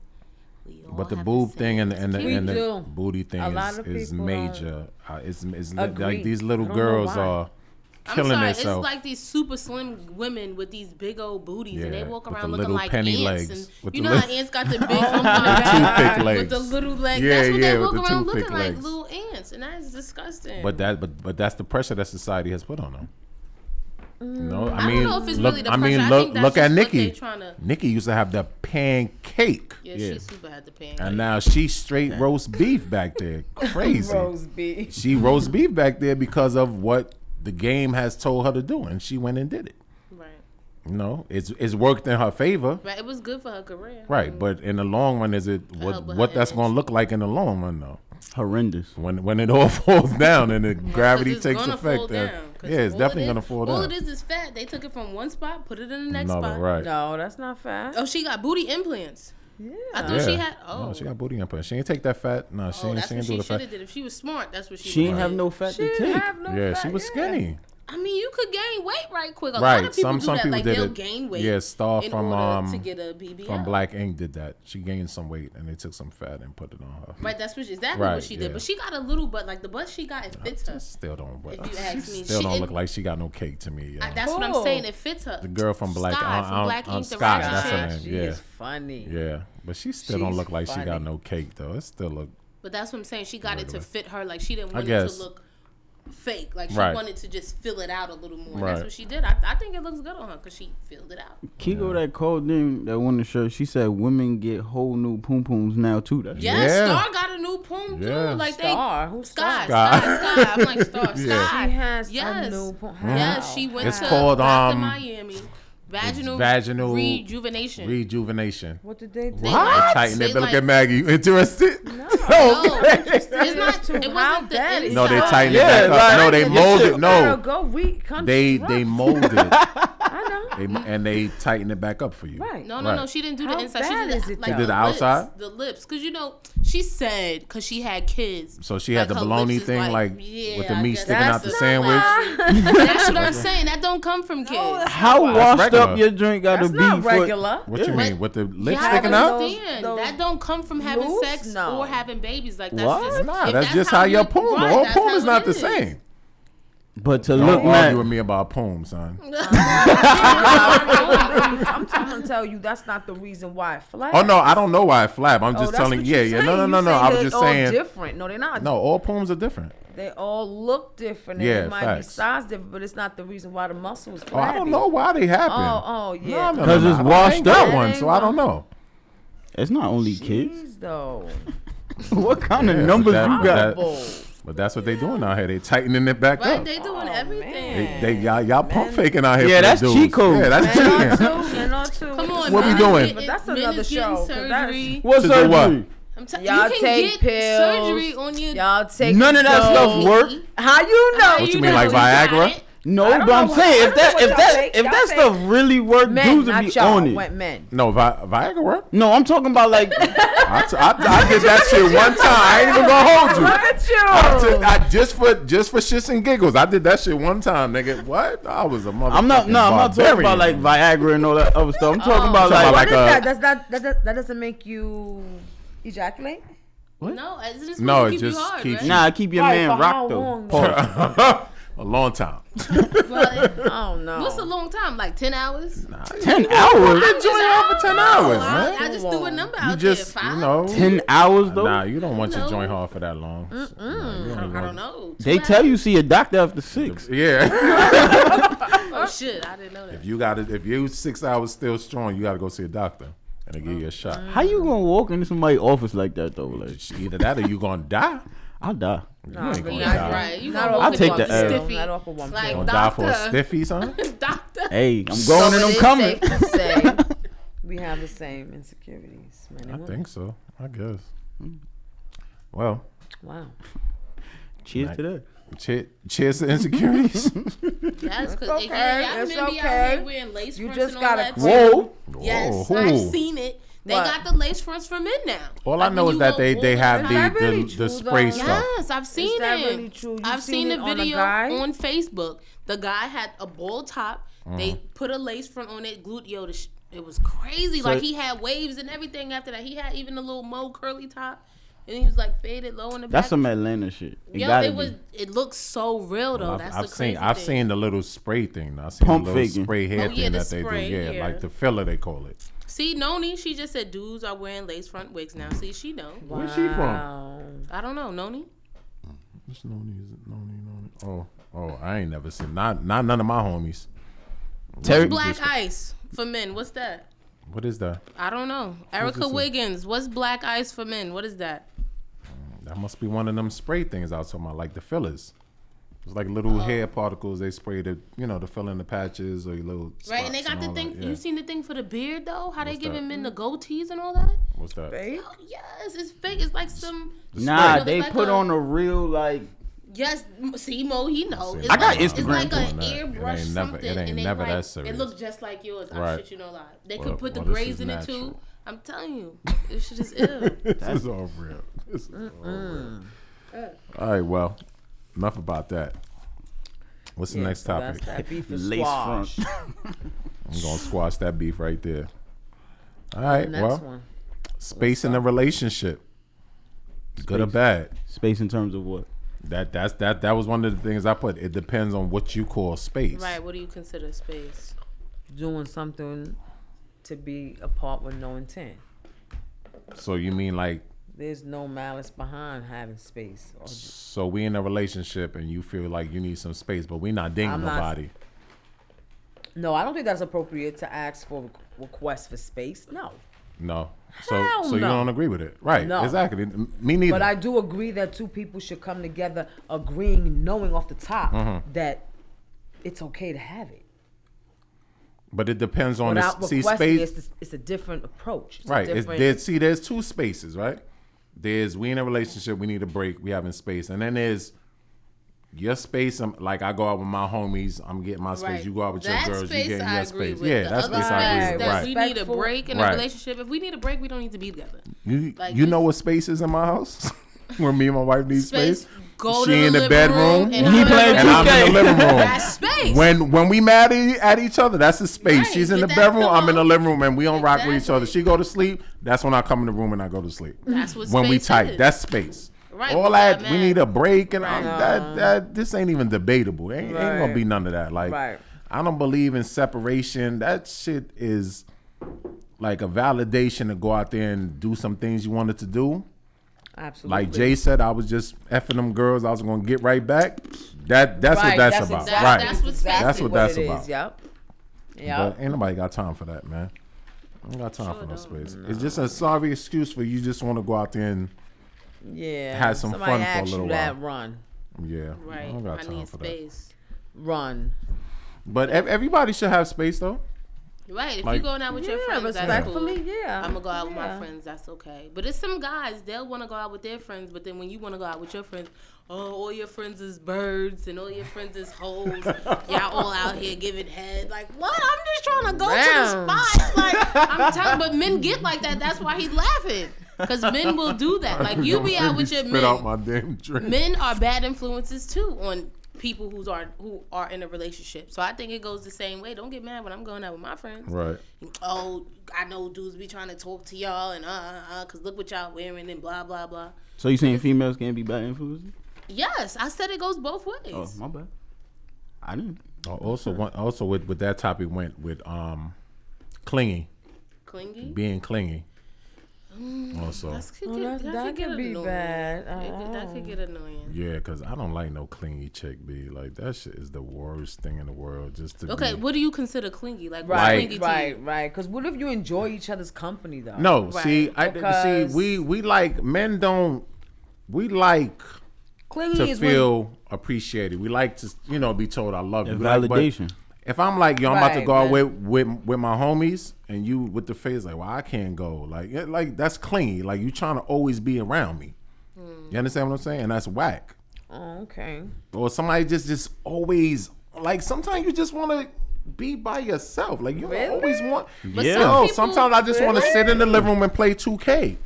we all But the have boob same thing and the and the, We and the do. booty thing A lot is, of is people major. Uh, it's it's li- like Agree. these little I don't know girls why. are I'm killing sorry, themselves. It's like these super slim women with these big old booties, and they Yeah, walk with the around looking little like penny ants. legs. And With you the know how little- ants got the big hump on the toothpick back legs. with the little legs. Yeah, that's what yeah, they walk with the around toothpick looking like legs. little ants, and that is disgusting. but that but but that's the pressure that society has put on them. No, I Mm, I mean, don't know if it's look. really the I mean, pressure. I look. think that's look just at what they Nikki. tryna- Nikki used to have the pancake, yeah, Yeah. she super had the pain. and now she straight roast beef back there. Crazy. Rose B. she roast beef back there because of what the game has told her to do, and she went and did it. right, You know, it's it's worked in her favor, right. It was good for her career. right? But in the long run, is it what Mm. help with what her that's image. going to look like in the long run though? Horrendous. When when it all falls down and the 'Cause gravity it's takes gonna effect, fall then- down, 'cause yeah, it's all definitely it is- going to fall All down. it is is fat. They took it from one spot, put it in the next Another, spot. right? No, that's not fat. Oh, she got booty implants. Yeah. I thought she Yeah. had. Oh, No, she got booty implant. She ain't take that fat. No, she oh, ain't. that's She what ain't do she the should fat. have did. If she was smart, that's what she. She ain't would've have did. no fat she to didn't take. have no Yeah, fat, she was yeah. skinny. I mean, you could gain weight right quick. A lot Right. of people Some do some that. people like did they'll it. gain weight. Yeah, Star in from order um to get a BBL. from Black Ink did that. She gained some weight and they took some fat and put it on her. Right, that's what she, exactly Right, what she did. yeah. But she got a little butt. Like the butt she got, it fits her. Still don't. But If you ask me, still she- don't it- look like she got no cake to me. I- yo. that's what I'm Cool. saying. It fits her. the girl from Black, Sky uh, from uh, Black uh, Ink, the Sky, ratchet that's her chick. name. She Yeah, is funny. yeah. But she still don't She's look like she got funny. no cake though. It still look But that's what I'm saying. She got it to Regular. fit her. Like she didn't want it guess. to look fake. Like she Right. wanted to just fill it out a little more. And Right. That's what she did. I, I think it looks good on her because she filled it out. Kiko that called in that won the show. She said women get whole new poom pooms now too. That's Yeah, Yeah. Star got a new poom too. Yeah. Like they Star, who's Sky, Star? Sky, Sky. I'm like Star, Yeah. Sky. She has a yes. new po- Yes, Wow. she went It's to called, back to um, Miami. Vaginal, vaginal rejuvenation. rejuvenation. What did they do? They They like- tighten they it. They Look like- at Maggie. You interested? No. okay. No, it's not. to It how wasn't the bad it inside. No, they tighten Yeah, it back like- up. No, they Your mold shit- it. Girl, No, go we come they to they rock. mold it. I know. They mo- and they tighten it back up for you. Right. No, no, Right. no. She didn't do the How inside. She bad did the, is it, like, though? Did the outside? Lips, the lips, because you know she said because she had kids. So she had like, the her bologna lips is thing, like, yeah, with the I meat guess sticking out the that's sandwich. not- That's what I'm saying. That don't come from kids. How washed regular. up your drink gotta That's be not for- regular. What you Yeah. mean? With the lip Y'all out? sticking out? understand Those- that don't come from having Loose? sex No. or having babies. Like that's What? just Nah, if that's, just how you- your poom. right, All that's poom how is it not the is. same. But to look Don't argue with mad, me about poom, son. I'm trying to tell you that's not the reason why. Flat. Oh, Oh no, I don't know why I flap. I'm Oh, just telling. Yeah, yeah. No, no, no, no. I was just all saying. Different. No, they're not. No, all poems are different. They all look different. And Yeah, they might be facts. size different, but it's not the reason why the muscle is Oh, I flabby. don't know why they happen. Oh, oh, yeah. No, no, no, 'Cause no, it's I don't- washed I ain't got up. one, so I don't know. it's not only kids. Jeez, though. What kind Yeah, of but numbers that- you but got? that- Bull. But that's what they doing out here. They tightening it back Right? up. They Oh, doing everything. They, they y'all y'all pump faking out here. Yeah, for the that's dudes. cheat code. Yeah, that's cheating. and on two. Come on, What we man. doing? It- But that's men another is getting show, 'cause that's- Surgery. What To do surgery? what? I'm t- Y'all you can take get pills. surgery on your. Y'all take None of that stuff those. work. How you know? you mean, like Viagra? No, I don't but I'm know what- I saying don't if that know if what that y'all think. if Y'all that think- stuff really worked, Men, dudes would not be y'all. on it. Went men. No, Vi- Viagra work. No, I'm talking about like I, t- I, I did that shit one time. I ain't even gonna hold you. Look at you. Oh. I, took, I just for just for shits and giggles. I did that shit one time, nigga. What? I was a motherfucker. I'm not no, I'm not talking about like Viagra and all that other stuff. I'm talking about Oh. Talking about like, like What is that? a- Does that, that, that, that doesn't make you ejaculate? No, it's just No, no, it keep just you hard, keeps right? you- nah, keep your Right, man for how rocked though. long? Pause. a long time. Well, it- Oh no. What's a long time? Like ten hours? Ten hours. Enjoy out for ten hours, I, man. I just threw a number You out just there. Five? you know. Ten hours though. Nah, you don't want your No. joint hard for that long. Nah, you I even don't want- know. They Two tell hours? you see a doctor after six. Yeah. Oh shit! I didn't know that. if you got it, if you six hours still strong, you got to go see a doctor and they give you a shot. Mm-hmm. How you gonna walk into somebody's office like that though? Like Either that or you gonna die. I'll die. You ain't gonna That's die. right. You Not gonna off I'll walk take in the with L. a stiffy. Not off of one Like Gonna die for doctor. a stiffy, son. doctor. Hey, I'm going and it I'm is coming. safe to say we have the same insecurities, men I and women. think so. I guess. Well, Wow. Cheers to that. che- cheers to insecurities. Yes, because okay. y'all It's men be out okay. here wearing lace You fronts just and all gotta that. quit. Whoa. Yes, Whoa. I've seen it. They What? got the lace fronts for men now. All I Like, know when you is that go they, they older- have that the, really the, true, the spray though? stuff. Yes, I've seen that it. really true? You've I've seen seen, it the on a video guy? on, Facebook. The guy had a bowl top. They put a lace front on it, glued yo. The sh- it was crazy. like he had waves and everything after that. He had even a little mo curly top, and he was like faded low in the That's back. some Atlanta shit. It Yo, gotta it was. be. It looks so real though. I've, That's I've the seen crazy I've thing. seen the little spray thing. I seen Pump the little faking. spray hair Oh, yeah, thing the that they do. spray, Yeah, yeah. like the filler they call it. See, Noni, she just said dudes are wearing lace front wigs now. See, she know. Where's she from? Um, I don't know, Noni. It's Noni, is it Noni, Noni? Oh, oh, I ain't never seen not not none of my homies. Terry, Black ice for men. What's that? What is that? I don't know. Erica Wiggins. What's black ice for men? What is that? That must be one of them spray things I was talking about, like the fillers. It's like little Oh. hair particles they spray to, you know, to fill in the patches or your little. Right, and they spots got the all thing. that. Yeah. You seen the thing for the beard though? How they What's giving that? men the goatees and all that? What's that? Um, Oh, yes, it's fake. It's like some. nah, spray. they Like put a- on a real like. Yes, M- see Mo, he know. It's I got like, It's Instagram like doing an that. It airbrush ain't never- something. it ain't and they never like, that It serious. looks just like yours. I Right. shit you know lie. They Well- could put the well, this grays is in it natural. too. I'm telling you, this shit is ill. This is all real. This is all real. Uh. All right, well, enough about that. What's the next topic? That's that beef is Lace squash. front. I'm gonna squash that beef right there. All right, next well, one. space in a relationship, good or bad. Space in terms of what? That that's that that was one of the things I put. It depends on what you call space. right, what do you consider space? Doing something to be apart with no intent. So you mean like, There's no malice behind having space. Or, so we in a relationship and you feel like you need some space, but we not dating I'm not- nobody. no, I don't think that's appropriate to ask for requ- requests for space. No. No. So Hell so you no. don't agree with it, right? No. Exactly. M- Me neither. But I do agree that two people should come together agreeing, knowing off the top Mm-hmm. that it's okay to have it. But it depends on the Without s- see requesting, space. it's, it's a different approach. It's a right. It's, different- there's, see, there's two spaces, right? There's we in a relationship, we need a break, we having space, and then there's your space. I'm, like I go out with my homies, I'm getting my space. Right. You go out with That your girls, you space getting I your agree space. with. Yeah, The that's other space I agree space with. that Right. we need a Respectful. break in Right. a relationship. If we need a break, we don't need to be together. You Like you this- know what space is in my house? Where me and my wife need space. Space, go to she the in the living bedroom. room and He I'm in the playing and I'm in 2K. the living room. That's space. When when we mad at e- at each other, that's a space. Right, She's in the but that's bedroom, the I'm in the whole- living room, and we don't rock with each Exactly. other. She go to sleep, that's when I come in the room and I go to sleep. That's what when we space tight, is. that's space. Right, All we that got we mad. need a break, and I'm, Right. that that this ain't even debatable. Ain't, ain't gonna Right. be none of that. Like Right. I don't believe in separation. That shit is like a validation to go out there and do some things you wanted to do. Absolutely. Like Jay said, I was just effing them girls. I was gonna get right back. That that's what Right, that's, that's about. exactly- right. That's what space That's is. what that's it is. about. Yep. But Yep. ain't nobody got time for that, man. I ain't got time for no space. It's just a sorry excuse for you just want to go out there and Yeah. Had some somebody fun for a asked little you while. that, run. Yeah, Right. I don't got I time need for that. space. Run. But ev- everybody should have space though. Right. If Like- you going out with your Yeah, friends, that's cool. respectfully, yeah. I'm gonna go out with Yeah. my friends. That's okay. But it's some guys they'll want to go out with their friends, but then when you want to go out with your friends, oh, all your friends is birds and all your friends is hoes. Y'all all out here giving head. Like what? I'm just trying to go Damn. to the spot. Like I'm telling, but men get like that. That's why he laughing. Cause men will do that. Like you be out with your spit men. out my damn drink. men are bad influences too on people who's are who are in a relationship. So I think it goes the same way. Don't get mad when I'm going out with my friends. Right. Oh, I know dudes be trying to talk to y'all and uh uh uh, cause look what y'all wearing and blah blah blah. So you saying females can't be bad influences? Yes, I said it goes both ways. Oh, my bad. I didn't. I Uh, Also, want, also with with that topic went with um, clingy, Clingy. being clingy. Also, Mm, That's- could Well, get- that, that could be annoying. bad. It could- that Oh. could get annoying. yeah, because I don't like no clingy chick. Be like that shit is the worst thing in the world. Just to Okay, Be, what do you consider clingy? Like what's Right. clingy to you? Right, right. Because what if you enjoy each other's company though? no, Right, see, I see. because- We we like men don't. We like clingy to is feel appreciated. We like to you know be told I love you. And We like- but validation. if I'm like yo, I'm about to Right, go out but- with, with with my homies, and you with the face like, well, I can't go. Like yeah, like that's clingy. Like you trying to always be around me. Hmm. You understand what I'm saying? And that's whack. when, oh, okay. Or somebody just just always like sometimes you just want to. Be by yourself, like you Really? always want. But Yeah. some No, people- sometimes I just want to Really? sit in the living room and play 2K.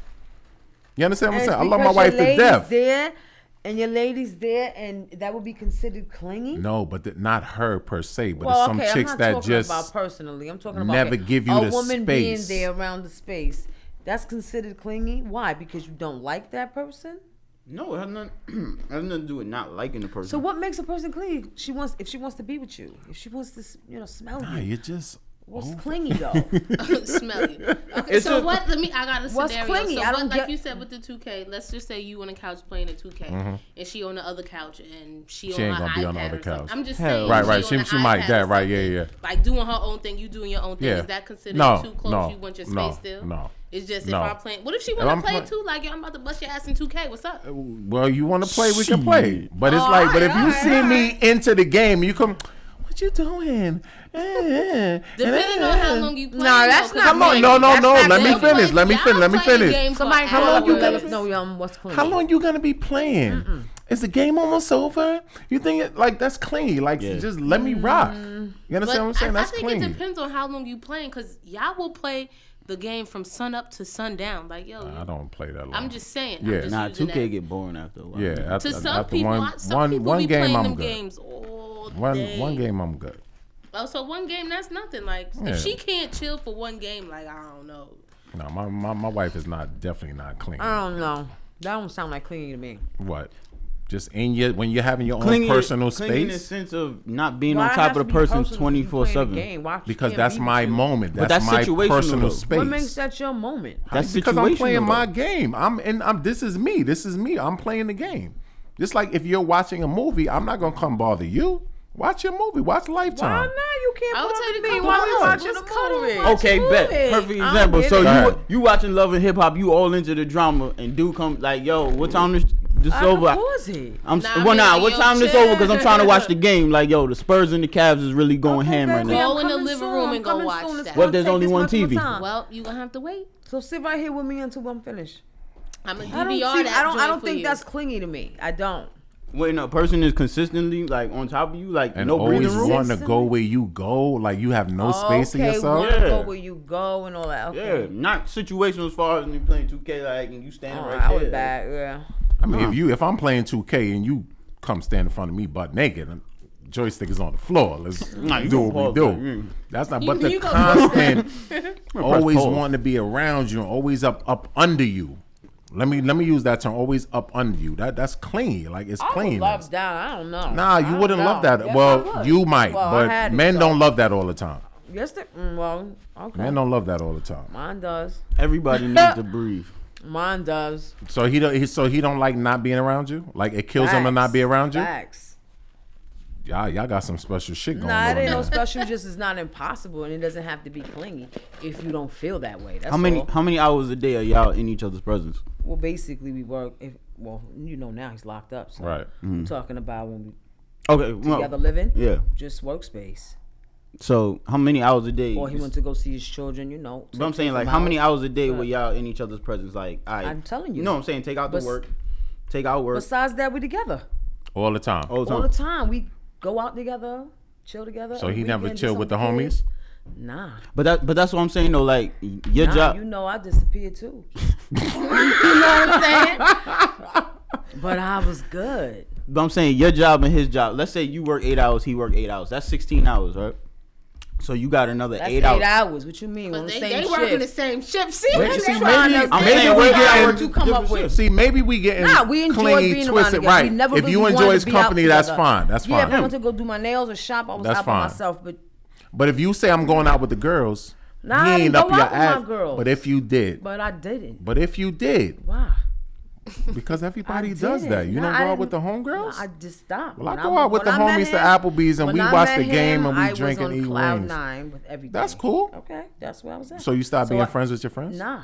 You understand what I'm And saying? I it's love my because wife your to lady's death. There, and your lady's there, and that would be considered clingy. No, but th- not her per se, but Well, it's some okay, chicks I'm not that talking just about personally. I'm talking about never okay, give you a the woman space. being there around the space. That's considered clingy. Why? Because you don't like that person. No, it has nothing. has nothing to do with not liking the person. So what makes a person clingy? She wants if she wants to be with you, if she wants to, s- you know, smell Nah, you. ah, you just What's over- clingy though? smell you. Okay, It's so a- what? Let me. I got a What's scenario. clingy? So I what, don't like get- you said with the 2K. Let's just say you on a couch playing a 2K, and she on the other couch, and she, on Mm-hmm. ain't her gonna be on the iPad other or something. couch. I'm just Hell. saying. Right, right. on She- the she might iPad that, or right, yeah, something. yeah. Like doing her own thing. You doing your own thing. Yeah. Is that considered No, too close? no, you want your space no, still? no, It's just no. if I'm playing. What if she If want I'm to play play- too? Like yo, I'm about to bust your ass in 2K. What's up? Well, you want to play, we can play. But it's Oh, like, but if you alright, see me into the game, you come. What you doing? Eh, Depending Depending on how long you play. Nah, that's not Come on, Wait, no, no, that's no. not Let me good. finish. Let me finish. Let me finish. Somebody How long you gonna gotta- know? Um, what's clingy? How long you gonna be playing? Is the game almost over? You think it, like that's clingy? Like Yeah. just let me rock. You understand what I'm saying? Mm. I, that's I think it clingy. depends on how long you playing, cause y'all will play the game from sun up to sundown. Like yo, I don't play that. Long. I'm just saying. Yeah. I'm just nah, using two K that. get boring after a while. yeah. after- To some after people, one- I- some one- people one be game, playing I'm them good. games all One day. one game, I'm good. Oh, so one game that's nothing. Like Yeah. if she can't chill for one game, like I don't know. No, my, my, my wife is not definitely not clean. Uh. I don't know. That don't sound like clingy to me. what? Just in your when you're having your Clingy, own personal clingy in the space sense of not being Why on it top has of the to be personal person if you twenty four playing a seven. game? Why she because can't that's be my with you? moment. That's, that's my situational, personal though. space. What makes that your moment? That's because I'm situational, playing though. my game. I'm and I'm. This is me. This is me. I'm playing the game. Just like if you're watching a movie, I'm not gonna come bother you. Watch your movie. Watch Why Lifetime. not? You can't I would put tell you on to me come while on. we watching Let's cut a it. movie. Okay, Move bet. it. Perfect I don't example. get So it. Alright. you you watching Love and Hip Hop, you all into the drama, and dude come like, yo, what time this this I over? can pause it. I'm Nah, s I well, mean, nah. like, What yo, time this chill. over? Because I'm trying to watch the game. Like, yo, the Spurs and the Cavs is really going ham right Okay, now. I'm Go in the coming living soon. room I'm and go coming watch soon. It's that. gonna What if there's take only this one much more TV? time. Well, you gonna have to wait. So sit right here with me until I'm finished. I'm a DVR I don't see, that I don't. I joint don't for think you. that's clingy to me. I don't. When a person is consistently like on top of you, like And no breathing always room. want to go where you go. Like you have no space to okay, yourself. wanna Yeah. go where you go and all that. Okay. Yeah, not situational as far as when you playing 2K, like and you standing Oh, right I there. was bad. Yeah. I mean, if you if I'm playing 2K and you come stand in front of me butt naked, and joystick is on the floor. Let's Nah, you do gonna what we pause do. that, yeah. That's not. You- But the you gonna constant, always pause. wanting to be around you, and always up up under you. Let me let me use that term. Always up under you. That that's clean. Like it's I clean. would love that. I don't know. Nah, I you don't wouldn't love know. that. Yes, I well, would. you might, Well, I but had it, men so- don't love that all the time. Yes, they, mm, well, okay. Men don't love that all the time. Mine does. Everybody needs to breathe. Mine does. So he don't. He, so he don't like not being around you. Like it kills him to not Facts. be around you. Facts. Y'all, y'all got some special shit going Nah, on. it ain't no there. special. Just is not impossible, and it doesn't have to be clingy if you don't feel that way. That's How many all. how many hours a day are y'all in each other's presence? Well, basically, we work. If well, you know now he's locked up. So Right. Mm-hmm. Oh, I'm talking about when Okay. we Well, together living, yeah. just workspace. So how many hours a day? Or he went to go see his children, you know. but I'm take saying them like how out. many hours a day were y'all in each other's presence? Like I. I'm telling you. No, I'm saying take out the Bes- work. Take out work. Besides that, we together All the time. all the all time. the time. We go out together, chill together. so on he the never weekend, do chilled with the something homies. cool. Nah, But that. But that's what I'm saying though. Like your nah, job. You know I disappeared too, I'm saying? but I was good. But I'm saying your job and his job. Let's say you work eight hours, he worked eight hours. That's sixteen hours, right? So you got another That's eight, hours. What you mean? We're on But the they, same they working the shift. same shift. See, But they you see, trying maybe- to I'm say saying we we're got getting what you come up different with. shifts. See, maybe we getting Nah, we enjoyed clingy, being around twisted, together. right? We never if really you wanted enjoy to his be out company, that's together. fine. That's Yeah, if I fine. wanted to go do my nails or shop, I was That's out fine. by myself. But But if you say I'm going out with the girls, Nah, he I ain't didn't up go your out with my ass. girls. But if you did, but I didn't. but if you did, Why? because everybody I does didn't. that. You Nah, don't I go out with the didn't- homegirls. Nah, I just stopped. Well, I When go out with when the I met homies to him- Applebee's and when we I watch met the game him, and we I was drink and on eat cloud wings. Nine with everything. that's cool. Okay, that's where I was at. So you stop So being I- friends with your friends. Nah.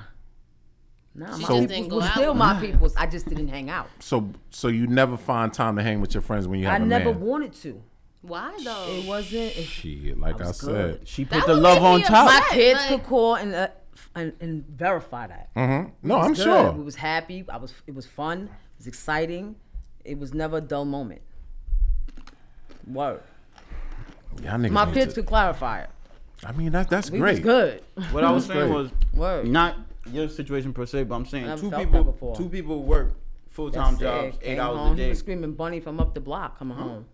Nah, She my just peoples didn't go was out still with my peoples. I just didn't hang out. So so you never find time to hang with your friends when you I have a never man. wanted to. Why It though? wasn't. it- Shit, like I, was said. good. She That put the would love make on me top. upset. Kids Like- could call and, uh, f- and and verify that. Mm-hmm. No, I'm Good. sure. It was happy. I was. It was fun. It was exciting. It was never a dull moment. Word. Y'all niggas My need kids to- could clarify it. I mean, that, that's We was great. good. What I was saying great. was Word. not your situation per se, but I'm saying Never two felt that people before. two people work full time Sick. jobs, eight Came hours home, a He day. was screaming bunny from up the block. Come home.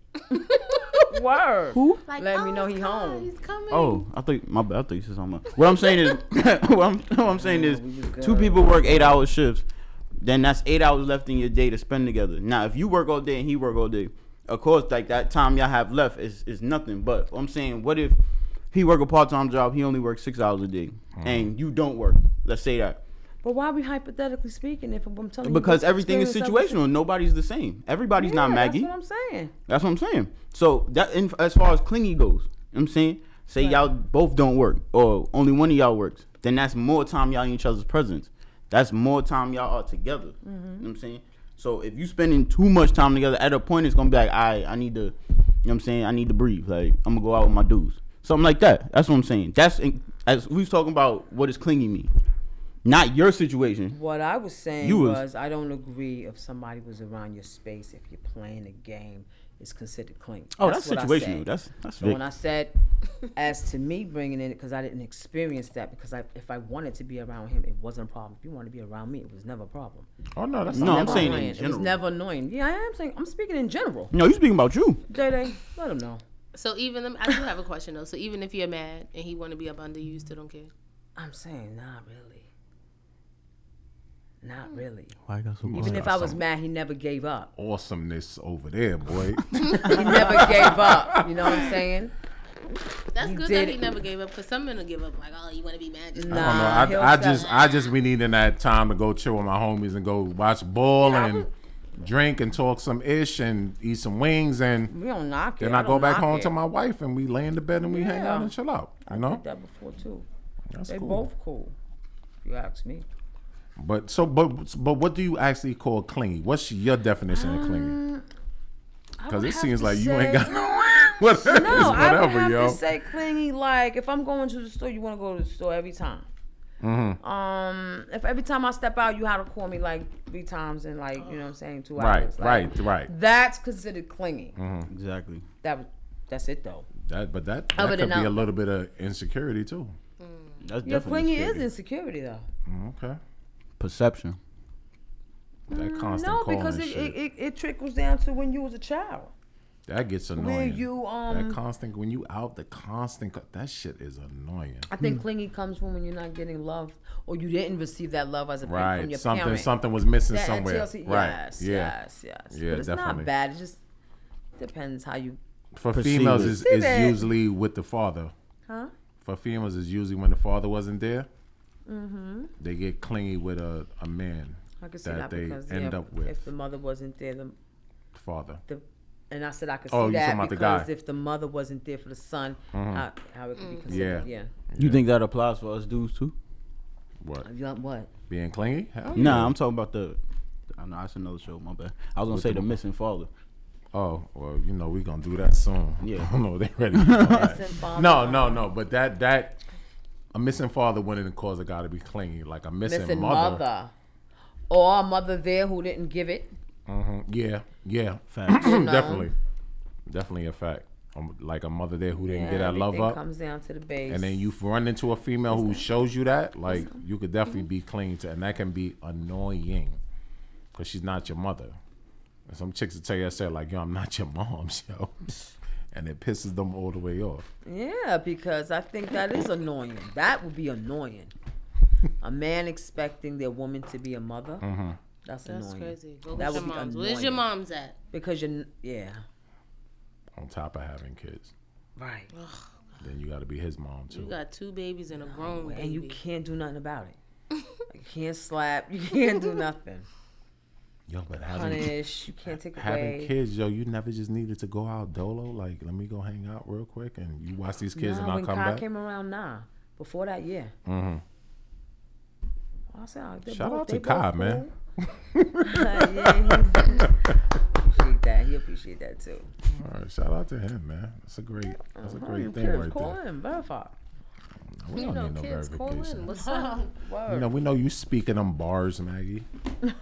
Word. Like, Let oh, me know he's coming, he home. He's coming. Oh, I think my bad. I thought you said something. Else. What I'm saying is, what, I'm, what I'm saying is, we was good. two people work eight hour shifts. Then that's eight hours left in your day to spend together. Now, if you work all day and he work all day, of course, like that time y'all have left is is nothing. But I'm saying, what if he work a part time job? He only works six hours a day, and you don't work. Let's say that But why are we hypothetically speaking if I'm telling you? because this everything is experience I was- situational. Nobody's the same. Everybody's not Yeah, Maggie. That's what I'm saying. That's what I'm saying. So that in, as far as clingy goes, you know what I'm saying, say y'all both don't work or only one of y'all works, then that's more time y'all in each other's presence. That's more time y'all are together. Mm-hmm. You know what I'm saying? So if you spending too much time together, at a point it's gonna be like, I I need to, you know what I'm saying? I need to breathe. Like I'm gonna go out with my dudes, something like that. That's what I'm saying. That's in, as we was talking about what does clingy mean, not your situation. What I was saying You was- was, I don't agree if somebody was around your space if you're playing a game it's considered clingy. Oh, that's, what I situational. said. That's that's So Vic. when I said, as to me bringing in it, because I didn't experience that, because I, if I wanted to be around him, it wasn't a problem. If you wanted to be around me, it was never a problem. Oh no, that's No, not I'm Never saying in annoying. It general. was never annoying. Yeah, I am saying, I'm speaking in general. no, you speaking about you. Day Day, let him know. So even them, I do have a question though. So even if you're mad and he want to be up under you, you still don't care. I'm saying, not really. Not really. Why got so Even if I was mad, he never gave up. awesomeness over there, boy. Oh, He never gave up. You know what I'm saying? That's You good did that he it. never gave up. Cause some men will give up. Like, oh, you want to be mad? Just Nah. I don't know. he'll I, I sell just, it. I just be needing that time to go chill with my homies and go watch ball and drink and talk some ish and eat some wings and We don't knock it. then I, go don't back knock home it. to my wife and we lay in the bed and we hang out Yeah. and chill out. You I know, did that before too. that's They cool. both cool. If you ask me. But so, but but what do you actually call clingy? What's your definition of Um, clingy? Because it seems like you ain't got no. whatever, No, it's I would whatever, have yo. to say clingy. Like if I'm going to the store, you want to go to the store every time. Mm-hmm. Um, if every time I step out, you have to call me like three times in like you know what I'm saying two right, hours. Like, right, right. That's considered clingy. Exactly. That was, that's it though. That, but that, Oh, that but could be no. a little bit of insecurity too. That's Your definitely clingy is scary. insecurity though. Okay. perception. That constant Mm, no, calling because and it, shit. it, it, it trickles down to when you was a child. that gets annoying. Where you that um, constant when you out the constant co- that shit is annoying. I think clingy comes from when you're not getting love or you didn't receive that love as a parent from Right. your Something parent. something was missing That somewhere. entails- yes, right. yeah. yes, yes. Yeah, but it's definitely. not bad. It just depends how you. For Perceive females it. is, Perceive is it. usually with the father. Huh? For females is usually when the father wasn't there. They get clingy with a, a man, Mm-hmm. I could see That that, they because end yeah, up with. if the mother wasn't there, the, the father. the and I said I could see Oh, you talking that about the because guy. Mm-hmm. if the mother wasn't there for the son, how, how it could be Yeah. considered. Yeah. You think that applies for us dudes too? What? You want What? Being clingy? Hell yeah. Nah, I'm talking about the I know that's another show. My bad. I was gonna say the missing father. Oh, well, you know, we're gonna do that soon. Yeah. I don't know, they ready. for that. Missing father. No, no, no. But that that a missing father wouldn't have caused a guy to be clingy. Like a missing, Missing mother. mother. Or a mother there who didn't give it. Mhm. Yeah, yeah. Facts. Definitely. Definitely a fact. Um, like a mother there who didn't get that love Everything up. comes down to the base. and then you run into a female who shows you that, like you could definitely be clingy to, and that can be annoying because she's not your mother. And some chicks will tell you, I said, like, yo, I'm not your mom, yo, and it pisses them all the way off. Yeah, because I think that is annoying. That would be annoying. a man expecting their woman to be a mother. Mm-hmm. That's, That's annoying. crazy. What That was your would be mom's? Where's your annoying. mom's at? Because you're, n- yeah, On top of having kids, right. then you got to be his mom too. You got two babies and a grown baby. And you can't do nothing about it. you can't slap. You can't do nothing. yo, but having Punish. You can't take having away. kids, yo, you never just needed to go out dolo. Like, let me go hang out real quick, and you watch these kids, nah, and I'll when come Kai back. came around, nah. Before that, yeah. Mhm. I said, oh, they Shout both- out they to Kai, both man. cool. yeah, he appreciate that. He appreciate that too. All right, shout out to him, man. That's a great, that's a great thing Kids right call there. him, verify. We You don't know, need no kids calling. verification. What's up? You know, we know you speaking them bars, Maggie. You know,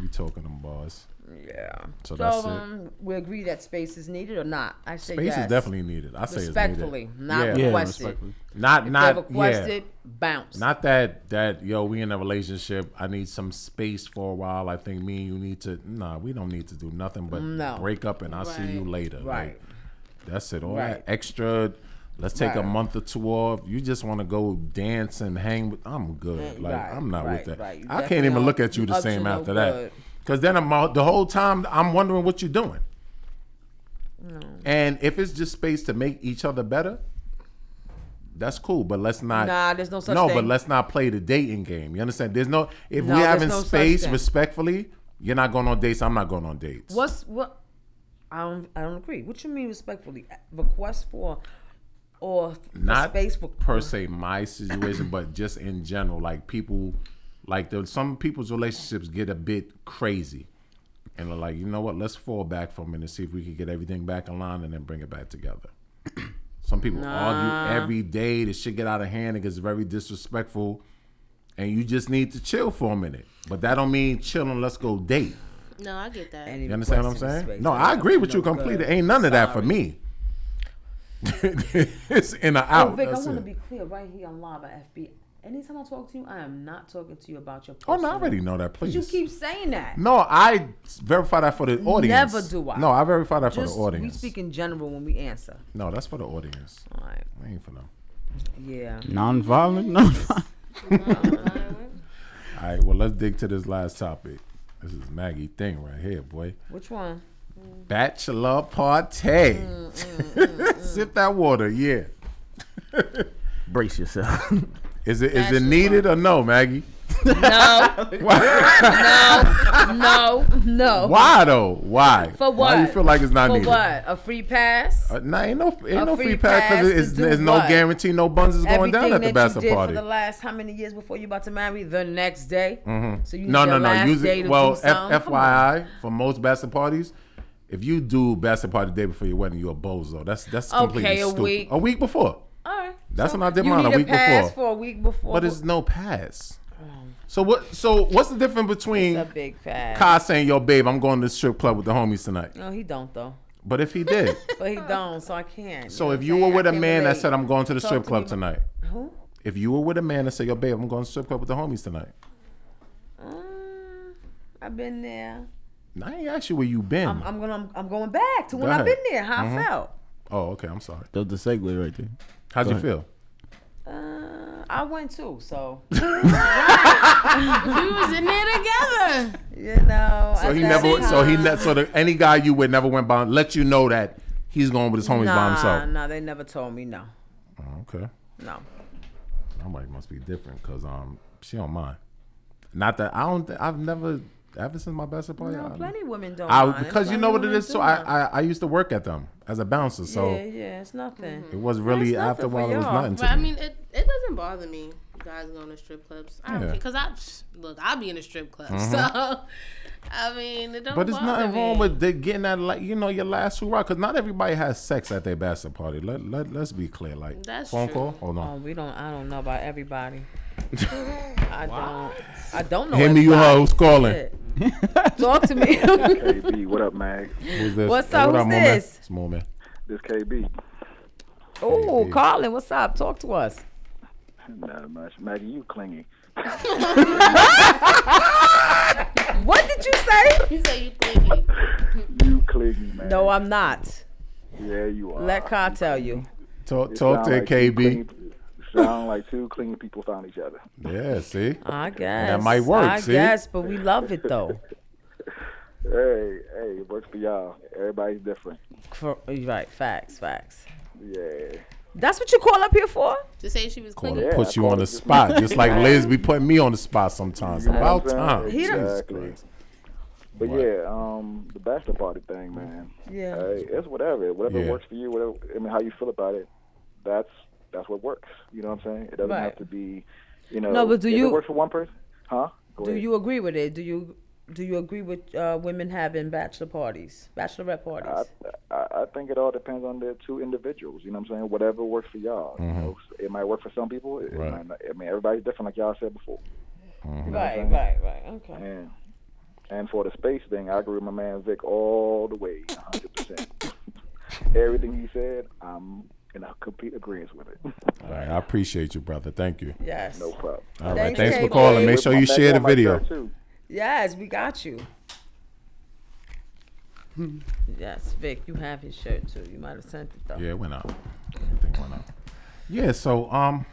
we talking them bars. Yeah. So So, that's it. um, we agree that space is needed or not? I say Space yes. is definitely needed. I say it's respectfully, needed. not yeah. Yeah, requested. respectfully. Not Not, not yeah. requested, bounce. Not that that yo, we in a relationship. I need some space for a while. I think me and you need to. Nah, we don't need to do nothing but No. break up, and I'll see you Right. later. Right. Like, that's it. All Right. that extra. Let's take a Right. month or two off. You just want to go dance and hang with. I'm good. Like Right, I'm not right, with that. right. You I can't definitely even look don't- at you you the up to same no after good. that. Cause then I'm out, the whole time I'm wondering what you're doing. And if it's just space to make each other better, that's cool. But let's not. Nah, there's no such No, thing. but let's not play the dating game. You understand? There's no. If No, we there's having no such space thing. respectfully, you're not going on dates. I'm not going on dates. What's what? I don't. I don't agree. What you mean respectfully? Request for or for not space for per se my situation, but just in general, like people, like the, some people's relationships get a bit crazy, and they're like, you know what? Let's fall back for a minute, see if we can get everything back in line, and then bring it back together. some people argue every day. This shit get out of hand. It gets very disrespectful, and you just need to chill for a minute. But that don't mean chilling. Let's go date. No, I get that. any You understand what I'm request in saying? space. No, That I don't agree do with no you completely. good. Ain't none of that for me. it's in or out. Oh, Vic, I That's want to it. be clear right here on live at FB. Anytime I talk to you, I am not talking to you about your Oh personal. no, I already know that. Please. You keep saying that. no, I verify that for the audience. Never do I. No, I verify that Just for the audience. we speak in general when we answer. no, that's for the audience. All right. I ain't for them. Yeah. Non-violent, non-violent. All right, well, let's dig to this last topic. This is Maggie thing right here, boy. Which one? Bachelor party. Mm, Sip that water, yeah. Brace yourself. Is it is it needed or no, Maggie? No, Why, no, no. why though? Why? For Why you what? feel like it's not For needed? what? A free pass? Uh, nah, ain't no ain't A no free free pass pass because to it's, do it's no what? guarantee no buns is going Everything down at the that you bachelor did party. for the last how many years before you about to marry? The next day. So you Mm-hmm. No, need no, your no. Last Use day to it. Well, do something? F- Come on. FYI, for most bachelor parties, if you do bachelor party the day before your wedding, you're a bozo. That's that's completely Okay, a stupid. week. A week before. All right. That's when I did you mine a need week pass before. for a week before. But it's no pass. So what? So what's the difference a between big pass. Kai saying, "Yo, babe, I'm going to the strip club with the homies tonight," no, he don't though. but if he did, But he don't, so I can't. so know if what you I'm were saying? with I a can't man that relate. said, "I'm going to the Talk strip to club me tonight," Who? if you were with a man that said, "Yo, babe, I'm going to the strip club with the homies tonight," Mm, I've been there. Nah, I ain't asked you where you been. I'm, I'm gonna. I'm going back to when Go I've ahead. been there. How I felt. oh, okay. I'm sorry. That's the segue right there. How'd you ahead. feel? Uh, I went too. So We was in there together. you know. So at he that never. So he. time- Ne- so the, any guy you with never went by. Let you know that he's going with his homies by Nah, himself. nah. They never told me no. Oh, okay, No. my wife must be different because um she don't mind. Not that I don't. Th- I've never ever since my bachelor party. No, plenty of women don't. I, I mind. because you Plenty know of what it women is. do So I, mind. I I used to work at them as a bouncer. So yeah, yeah, it's nothing. it was really That's after nothing a for while it was y'all. nothing. To But I me. mean, it, it doesn't bother me. guys going to strip clubs. I don't Yeah. care because I psh, look. I'll be in a strip club, so I mean, it don't. But there's bother nothing wrong me. with they getting that, like you know, your last hurrah. Because not everybody has sex at their bachelor party. Let let let's be clear. Like That's phone true. call. Hold Oh, on. we don't. I don't know about everybody. I don't. I don't Oh, know. Hit me, you everybody. hoes calling. Shit. Talk to me. KB, what up, man? Who's this? What's up? Who's Mo man? this? It's Mo man. This KB. oh, Colin, what's up? Talk to us. Not much. Maggie, you clingy. What did you say? You say you thinking. You clingy, man. No, I'm not. Yeah, you are. Let Car tell you. Talk It talk sound to like two KB. clingy- Sound like two clingy people found each other. Yeah, see. I guess might work, I see? guess, but we love it though. Hey, hey, it works for y'all. Everybody's different. For, right? Facts. Facts. Yeah. That's what you call up here for? To say she was Want clingy. to Yeah, put I you call on it the just- spot, just like Liz be putting me on the spot sometimes. know About what I'm time. saying? He done- Jesus Exactly. Christ. But Right. yeah, um, the bachelor party thing, man. Yeah. Hey, it's whatever. Whatever Yeah. works for you. Whatever. I mean, how you feel about it. That's that's what works. You know what I'm saying? It doesn't Right. have to be. You know. No, but do if you- It works for one person. Huh? Go Do ahead. you agree with it? Do you do you agree with uh, women having bachelor parties, bachelorette I, parties? I I think it all depends on the two individuals. You know what I'm saying? Whatever works for y'all. You know, it might work for some people. It Mm-hmm. Right. might not, I mean, everybody's different, like y'all said before. right, right, right. Okay. And and for the space thing, I agree with my man Vic all the way, 100. percent Everything he said, I'm in a complete agreement with it. All right, I appreciate you, brother. Thank you. Yes. No problem. All right, Thanks, thanks for KB. calling. Make With sure my you back share the on my video. shirt, too. Yes, we got you. yes, Vic, you have his shirt too. You might have sent it though. Yeah, it went up. I think it went up. Yeah, so um,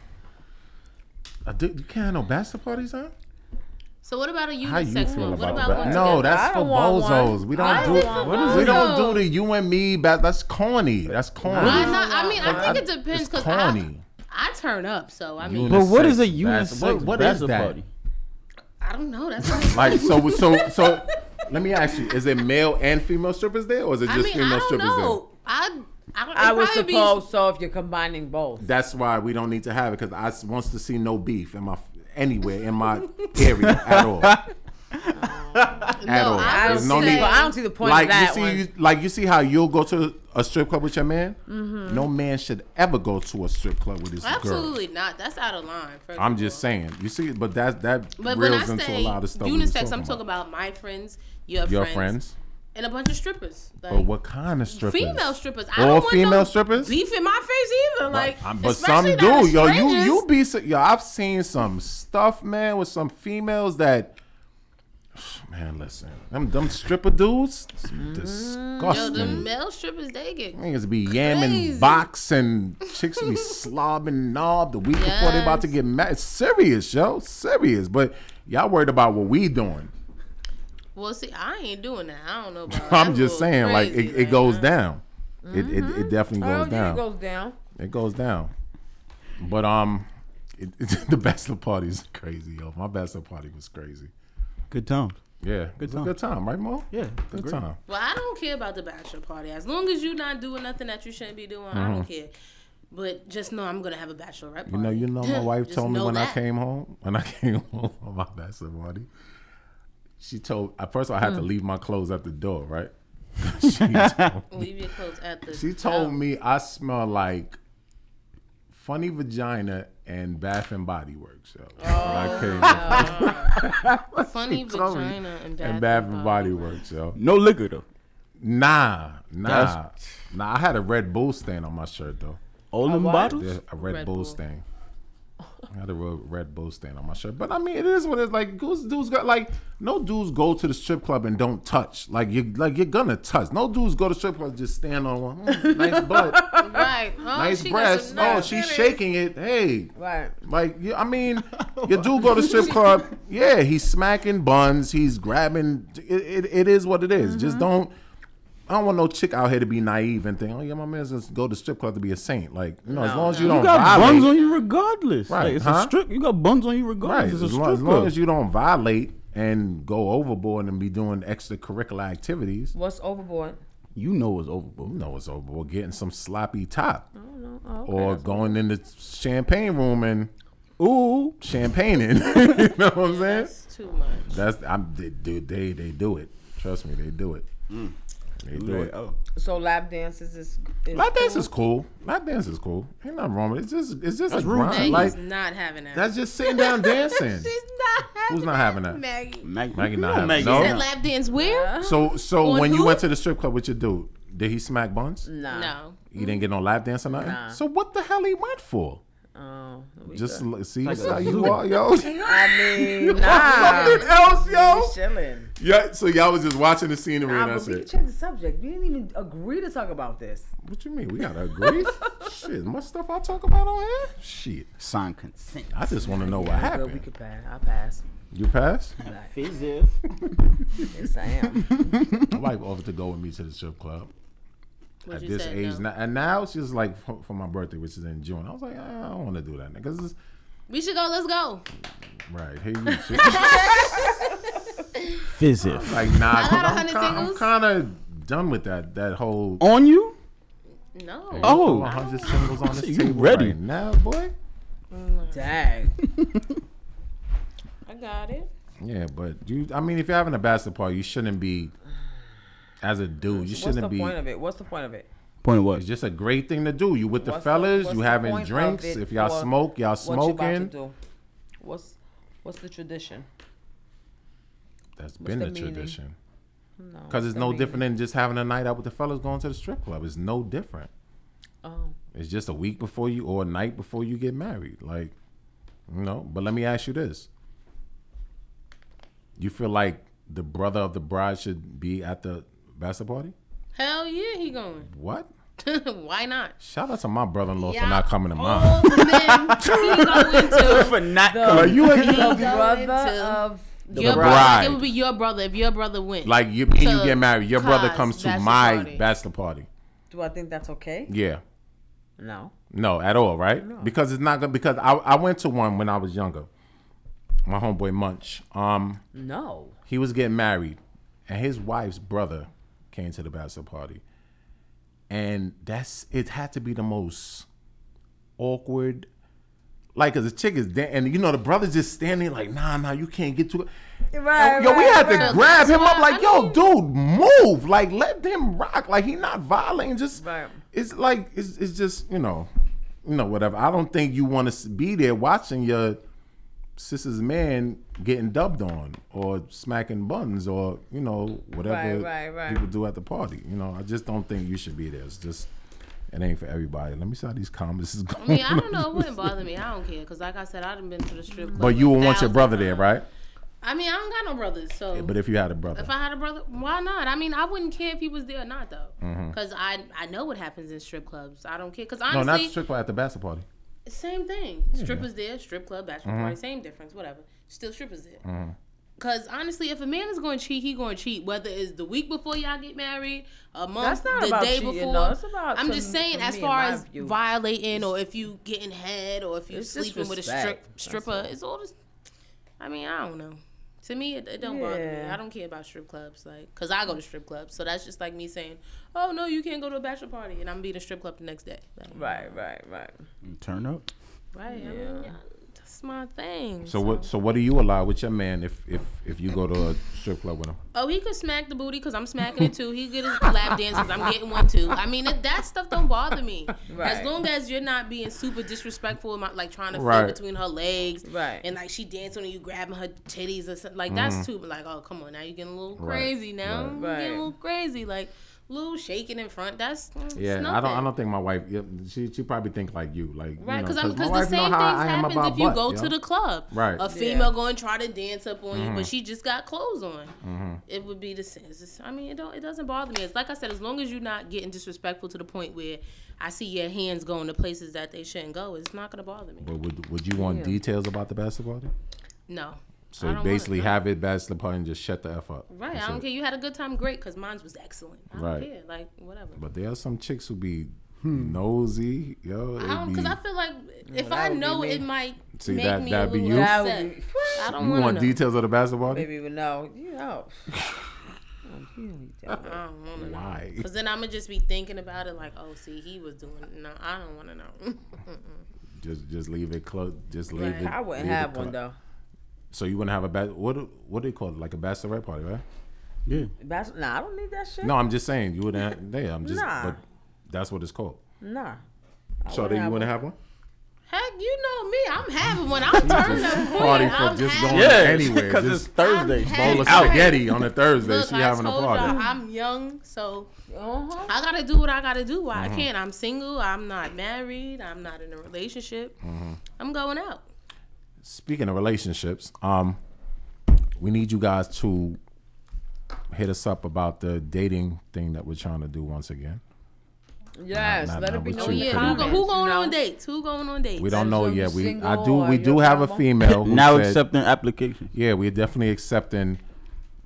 I did, you can't have no bachelor parties, huh? So what about a How you unisex feel one? What about about that? one No, together? that's I for don't want bozos. one. We don't I do don't want we one. don't do the you and me. Ba- that's corny. That's corny. Why not? I mean, I think it depends It's because I, corny. I turn up, so I mean, But what is a Unisex bas- unisex what- what is bachelor that? party? I don't know. That's what I'm Like so so so. let me ask you: Is it male and female strippers there, or is it just I mean, female I don't strippers know. I I, don't, I it'd would probably be- suppose so if you're combining both. there? That's why we don't need to have it because I s- wants to see no beef in my anywhere in my area at all. at all. I There's would no say- need. But I don't see the point like of that you see, one. You, like you see how you'll go to a strip club with your man. No man should ever go to a strip club with his girl. Mm-hmm. Absolutely not. That's out of line. first I'm of just all. saying. You see, but that that But when I reels into a say lot of stuff. we was unisex, I'm talking about my friends, your, your friends, friends. and a bunch of strippers. Like, But what kind of strippers? female strippers? I All don't want female no strippers? beef in my face either. Like, I'm- but some especially do, not as yo. You you strangers. be so- yo. I've seen some stuff, man, with some females that. Man, listen, them them stripper dudes, Mm-hmm. Yo, disgusting. the male strippers they get. Niggas be yamming, Crazy. boxing, chicks be slobbing knob the week before they about to get married. Serious, yo, serious. But y'all worried about what we doing. Well, see, I ain't doing that. I don't know. About that. I'm That's just a little saying, like crazy, it, it goes uh, down. It, it it definitely Oh, goes yeah, down. it goes down. It goes down. But um, it, the bachelor party is crazy, yo. My bachelor party was crazy. Good times. Yeah, good time. good time, right, Mo? Yeah, good agreed. time. Well, I don't care about the bachelor party. As long as you're not doing nothing that you shouldn't be doing, I don't care. But just know I'm gonna have a bachelorette party. Mm-hmm. You know, you know, my wife Just told me know when I that. came home, when I came home from my bachelor party, she told. At first, I had to leave my clothes at the door, right? she, told, Leave your clothes at the. she told me I smell like funny vagina and Bath and Body Works. Yo. When I came home funny told me- vagina and and bad. Bath and Body Works, yo. No liquor though. Nah, nah, That's- nah. I had a Red Bull stain on my shirt though. All them bottles. There's a Red, Red Bull, Bull. stain. I had a Red, Red Bull stain on my shirt, but I mean, it is what it's like. Dudes, dudes got like no dudes go to the strip club and don't touch. Like you, like you're gonna touch. No dudes go to strip club and just stand on one. Mm, nice butt, Right. Oh, nice she got breasts. some Oh, nice she's titties. shaking it. Hey, Right. like you, I mean, you do go to strip club. Yeah, he's smacking buns. He's grabbing. It, it, it is what it is. Mm-hmm. Just don't. I don't want no chick out here to be naive and think, oh yeah, my man's just go to strip club to be a saint. Like you know, as long as you don't You got violate, buns on you regardless. Right. Right, it's huh? a strip. You got buns on you right? regardless. As, It's a long, strip as long club. as you don't violate and go overboard and be doing extracurricular activities, What's overboard? you know it's overboard. you know it's overboard. Getting some sloppy top I don't know. Oh, okay. or going in the champagne room and ooh, champagneing. you know what I'm saying? That's too much. That's I'm they, dude. They they do it. Trust me, they do it. Mm. They do it. Oh. So lap dances is. is Lap dance is cool. Lap dance is cool. Ain't nothing wrong with it. It's just it's just a grind. Maggie's Like not having that. that's just sitting down dancing. She's not having Who's not having that? Maggie. Maggie, Maggie you not don't having make no. it That up. lap dance where? So so On when you who? went to the strip club with your dude, did he smack buns? Nah. No. You didn't get no lap dance or nothing. So what the hell he went for? Oh, we Just good. l- see how you are, yo. I mean, nah. Nothing else, yo. Just chilling. Yeah. So y'all was just watching the scenery, Nah, and but that's we it. can change the subject. We didn't even agree to talk about this. What you mean? We gotta agree? Shit, much stuff I talk about on here. Shit, Sign consent. I just want to know what But we happened. could pass. I pass. You pass? Fizz. Yes, I am. My wife offered to go with me to the strip club What at you this said, age, no. now, and now it's just like for, for my birthday, which is in June. I was like, I don't want to do that because We should go. Let's go. right here you shit. Fizz. like nah. 'cause got a I'm hundred kind- I'm singles. kind of done with that. That whole On you? No. Oh. 100 singles on this You table ready. right now, boy. Dang. I got it. Yeah, but you. I mean, if you're having a basketball, you shouldn't be. As a dude, you What's shouldn't the be. point of it? What's the point of it? Point of what? It's just a great thing to do. You with the What's the- fellas, what's you the having point of drinks. it If y'all for smoke, y'all What you about to smoking. do? What's What's the tradition? That's been the the, meaning? tradition. No. Because it's that no mean- different than just having a night out with the fellas going to the strip club. It's no different. Oh, It's just a week before you or a night before you get married. Like, you know. But let me ask you this: You feel like the brother of the bride should be at the bachelor party? Hell yeah, he going. What? Why not? Shout out to my brother-in-law for Yeah. Oh, not coming to mine. All the men he going to. For not Like you, He ain't- going brother to. of your bride. brother. It would be your brother if your brother went. like you, me and you To get married. Your brother Kai's comes to bachelor my party. bachelor party. Do I think that's okay? Yeah. No. No, at all, right? Because it's not gonna. Because I, I went to one when I was younger. My homeboy Munch. Um, No. he was getting married, and his wife's brother came to the bachelor party, and that's it. Had to be the most awkward. Like, cause the chick is dan- and you know the brother's just standing like, nah, nah, you can't get to it. Right. Yo, we had to right. grab him up That's like, why I yo, dude, move. Like, let them rock. Like, he not violating. Just, Right. it's like, it's, it's just, you know, you know, whatever. I don't think you want to be there watching your sister's man getting dubbed on or smacking buns or, you know, whatever Right, right, right. people do at the party. You know, I just don't think you should be there. It's just, it ain't for everybody. Let me see how these comments is going. I mean, I don't know. It wouldn't bother me. I don't care. Because, like I said, I'd have been to the strip club. But you would want your a thousand brother there, times. right? I mean, I don't got no brothers. So But if you had a brother, If I had a brother, why not? I mean, I wouldn't care if he was there or not, though, because I I know what happens in strip clubs. I don't care, because Mm-hmm. no, not honestly, strip club at the bachelor party. same thing. Strippers there, strip club, Mm-hmm. bachelor party, same difference, whatever. Still strippers there. Cause honestly, if a man is going to cheat, he going to cheat. Whether it's the week before y'all get married, a month, That's not the about day cheating, before. no. It's about- I'm to just me- saying, to as me, in far my as view, violating or if you getting head or if you It's sleeping with a strip, disrespect. That's stripper, it's all just. I mean, I don't know. To me, it, it don't bother me. Yeah. I don't care about strip clubs, like, cause I go to strip clubs, so that's just like me saying, "Oh no, you can't go to a bachelor party," and I'm being a strip club the next day. Like, Right, right, right. Turn up. Right. I mean, yeah, that's my thing. So what? So what do you allow with your man if if if you go to a strip club with him? Oh, he could smack the booty because I'm smacking it too. He get his lap dance because I'm getting one too. I mean, that, that stuff don't bother me. Right. As long as you're not being super disrespectful, about, like trying to Right. fit between her legs, Right. And like she dancing and you grabbing her titties or something. Like that's too. Like oh come on, now you're getting a little Mm-hmm. Right. crazy. Now Right. you getting Right. a little crazy. Like little shaking in front. That's mm, Yeah, it's I don't. I nothing. don't think my wife. yeah, She she probably think like you, like you Right, know, because I'm my because the wife know same things how I am happens about if you butt, go yo. to the club. Right. Mm-hmm. a female going to try to dance up on you, but she just got clothes on. It would be the same. it's just- I mean, it don't. It doesn't bother me. It's like I said, as long as you're not getting disrespectful to the point where I see your hands going to places that they shouldn't go, it's not gonna bother me. But would would you want details about the bachelor party? No. I So don't want basically, it, no. have it bachelor party and just shut the f up. Right, That's I don't it. care. You had a good time, great, because mine was excellent. I don't Right. care, like whatever. But there are some chicks who be nosy, yo. Hmm. I don't, because I feel like if I know it might See, make that- me that'd a be little you. That upset. would be, I don't you wanna want know. details of the bachelor party? baby, would know. You know. Oh, I'm really down. I don't Mm-hmm. want to know. Why? Cause then I'm gonna just be thinking about it, like, oh, see, he was doing. No, I don't want to know. Just just leave it close. Just leave Right. it. I wouldn't leave it have one clo- though. So you wouldn't have a bas- what do- what do they call it? Like a bachelorette party, right? Yeah. That's, nah, I don't need that shit. No, I'm just saying you wouldn't. Have, yeah, I'm just. Nah. But that's what it's called. Nah. So wouldn't you have wouldn't have one? Heck, you know me. I'm having one. I'm turning up quick. Party for I'm just having- going anywhere. because it's Just Thursday. I'm bowl of having- spaghetti on a Thursday. Look, she I having a told party. y'all I'm young, so Uh-huh. I gotta do what I gotta do. Why Mm-hmm. I can't? I'm single. I'm not married. I'm not in a relationship. Mm-hmm. I'm going out. Speaking of relationships, um, we need you guys to hit us up about the dating thing that we're trying to do once again. Yes, Nah, nah, let nah, it be we known. Oh True, yeah, pretty who, go, who much. going No. on dates? Who going on dates? We don't And know so you yet. We I single do. or We you do have a available? female. who Now said- accepting applications. Yeah, we're definitely accepting.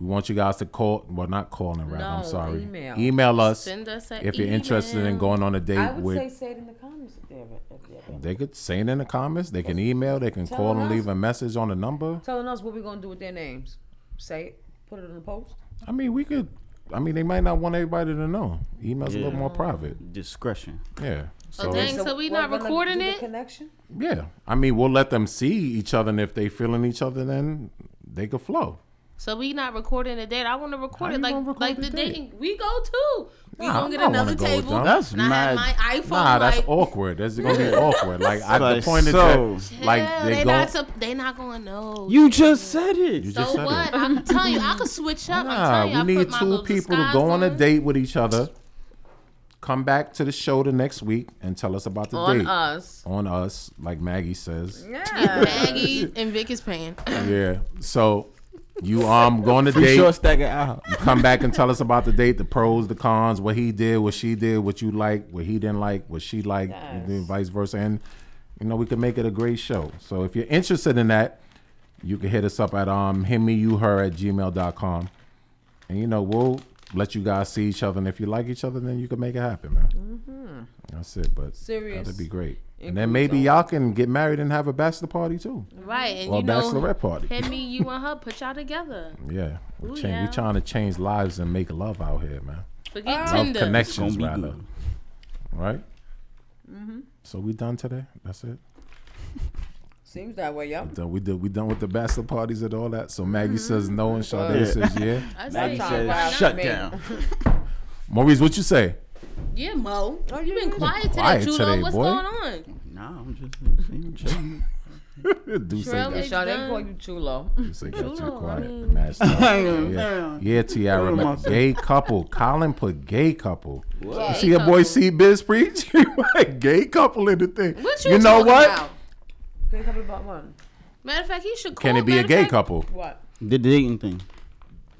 We want you guys to call. Well, not calling. Rather, I'm No, sorry. email. us Send us an if you're interested in email. going on a date I would with. say say it in the comments if they're, if they're available. They could say it in the comments. They can email. They can Tell call and us. leave a message on the number. telling us what we're gonna do with their names. Say it, put it in the post. I mean, we could. I mean, they might not want everybody to know. Email's a little Yeah. more private. Discretion. Yeah. So Oh, dang. it's- So we we're not gonna recording do the it? Connection. yeah. I mean, we'll let them see each other, and if they feeling each other, then they could flow. So we not recording the date. I want to record you it gonna like record like the the date? dating. We go too. We Nah, gonna get I wanna another go, table. dog. That's and I had my mad. iPhone. Nah, that's like, awkward. That's gonna be awkward. Like I the Like, point is so- that like hell, they, they go. not sup- they not gonna know. You just said it. You so just said it. what? I'm telling you, I could switch up. Nah, I'm telling you, we I need put my two little people to disguise go on a on. date with each other, come back to the show the next week, and tell us about the On date. us. On us, like Maggie says. Yeah. Maggie and Vic is paying. Yeah. So you um go on a Free date, short stack of out. come back and tell us about the date, the pros, the cons, what he did, what she did, what you liked, what he didn't like, what she liked, and then vice versa. And you know, we can make it a great show. So if you're interested in that, you can hit us up at um him me you her at gmail.com. And you know, we'll let you guys see each other. And if you like each other, then you can make it happen, man. Mm-hmm. That's it. But Serious. that'd be great. And then maybe y'all can get married and have a bachelor party too. Right, and Or a you know, bachelorette party. hit me, you and her, put y'all together. Yeah, we Ooh, cha- yeah. we trying to change lives and make love out here, man. Forget Love Tinder. connections, Gonna be rather. good. Right. Mm-hmm. So we done today. That's it. Seems that way, yep. We done. We did. We done with the bachelor parties and all that. So Maggie says no, and Sade says yeah. Mm-hmm. I Maggie say, said not shut me?" down. Maurice, what you say? yeah, Mo. Oh, you been quiet today, quiet Chulo. today, What's boy. going on? Nah, I'm just I'm chilling. Do say Really? that. Y'all didn't call you Chulo. You say got too Chulo, I quiet. mean- Mad stuff. Yeah. Damn. yeah, Tiara. What am I man. Gay saying? couple. Colin put gay couple. You Gay see your boy couple. C Biz preach? gay couple in the thing. What you, know talking what? About? Okay, couple about one. Matter of fact, he should call. Can it be a matter of gay fact- couple? What? The dating thing.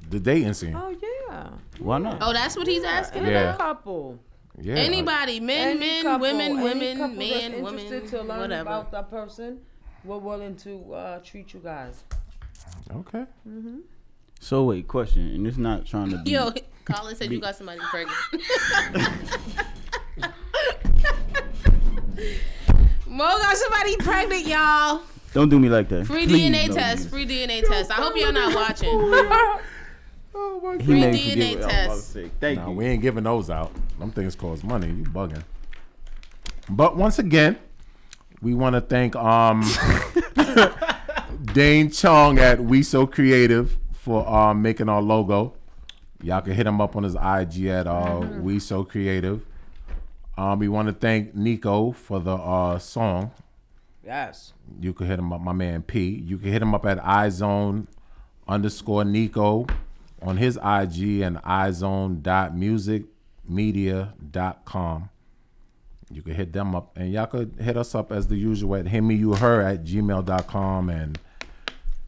The dating scene. Oh yeah. Why not? Oh, that's what he's asking. Yeah. Any couple. Yeah. Anybody, men, Any men, couple, women, any women, couple that's man, women, interested to learn whatever. about that person. We're willing to uh, treat you guys. Okay. So wait, question, and it's not trying to be. Yo, Colin said you got somebody pregnant. Mo got somebody pregnant, y'all. Don't do me like that. Free Please DNA don't do test. that. Free DNA test. I hope you're not watching. Oh my He made me Free forget DNA what I was about to test. say. Thank Nah, you. we ain't giving those out. Them things cost money. You bugging. But once again, we want to thank um Dane Chong at We So Creative for um making our logo. Y'all can hit him up on his IG at uh, We So Creative. Um, we want to thank Nico for the uh song. Yes. You can hit him up, my man P. You can hit him up at iZone underscore Nico on his IG and iZone.musicmedia.com. You can hit them up. And y'all could hit us up as the usual at him, me, you, her at gmail.com and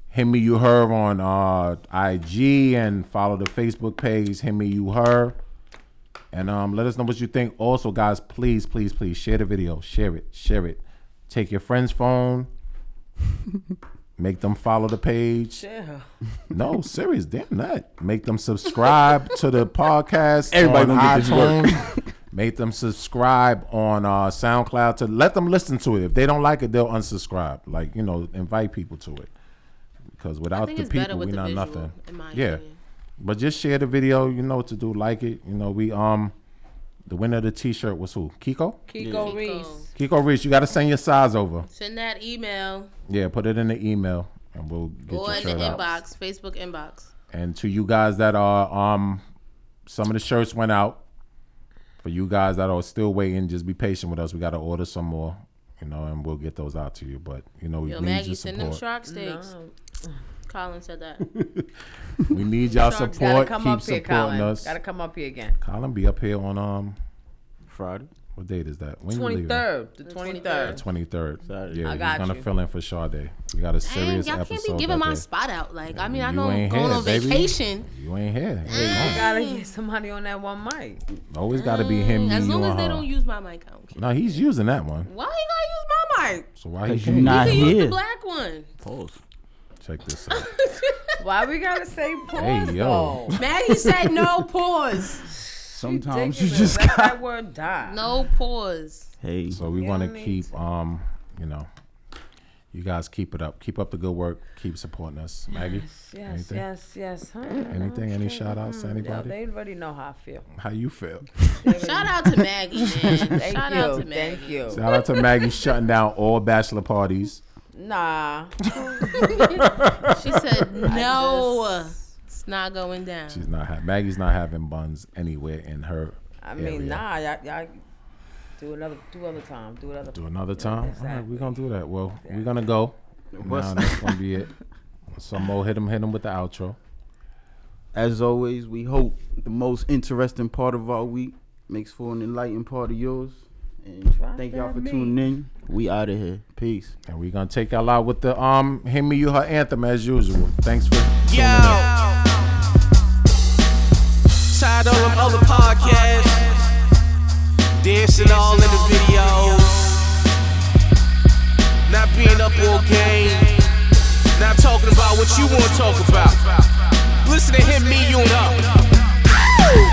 him, me, you, her on uh, IG and follow the Facebook page, him, me, you, her. And um, let us know what you think. Also, guys, please, please, please share the video. Share it. Share it. Take your friend's phone. make them follow the page. Yeah. No, serious. Damn that. Make them subscribe to the podcast. Everybody on gonna get this work. iTunes. Make them subscribe on uh, SoundCloud to let them listen to it. If they don't like it, they'll unsubscribe. Like you know, invite people to it because I without think the it's better people, with we're the not visual, nothing. in my Yeah. opinion. But just share the video. You know what to do. Like it. You know we um The winner of the T-shirt was who? Kiko. Kiko Kiko. Reese. Kiko Reese, you got to send your size over. Send that email Yeah, put it in the email, and we'll get or your in the shirt out. inbox, Facebook inbox. And to you guys that are um, some of the shirts went out. For you guys that are still waiting, just be patient with us. We got to order some more, you know, and we'll get those out to you. But you know, we Yo, need Maggie, your send them support. shark steaks. Colin said that. we need y'all Sharks support. Gotta come Keep up here, supporting Colin. us. Gotta come up here again. Colin, be up here on um, Friday. what date is that? When Twenty third, the twenty 23rd. third. Twenty third. Saturday. Yeah, I he's got gonna you. fill in for Sade. We got Dang, a serious y'all can't episode. be giving out my there. spot out. Like, I mean, I You know I'm ain't going here, on baby. vacation. You ain't here. Mm. Hey, You gotta get somebody on that one mic. Always got to be him. As me, long you, as and they her. don't use my mic, I don't care. No, he's using that one. Why you gotta use my mic? So why he Cause you can't? not You can use here. the black one. Pause. Check this out. Why we gotta say pause Hey yo, though? Maggie said no pause. Sometimes you Ridiculous. just Let got. that word die. No pause. Hey, so we want don't to need keep um, you know, you guys keep it up. Keep up the good work. Keep supporting us, Maggie. Yes, Anything? yes, yes. Huh? Anything? Any shout outs to Yo, anybody? they already know how I feel. How you feel? Shout out to Maggie, man. Thank Shout you. out to Maggie. thank you. Shout out to Maggie shutting down all bachelor parties. Nah. She said no. It's not going down. She's not ha- Maggie's not having buns anywhere in her. I mean, area. nah. Y'all, y'all do another, do other time, do another. Do another time. All right, exactly. we're gonna do that. Well, we're gonna go. Now that's gonna be it. Some more hit him, hit him with the outro. As always, we hope the most interesting part of our week makes for an enlightened part of yours. And thank y'all for tuning in. We out of here. Peace. And we're gonna take y'all out with the um hit me you her anthem as usual. Thanks for tuning in. Yo. Tired of them other podcasts. Dancing all in the videos. Not being up all game. Not talking about what you want to talk about. Listen to him, me, you, and her.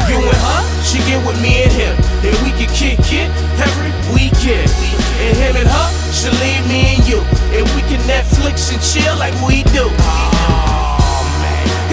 You and her, she get with me and him. And we can kick it every weekend. And him and her, she leave me and you. And we can Netflix and chill like we do.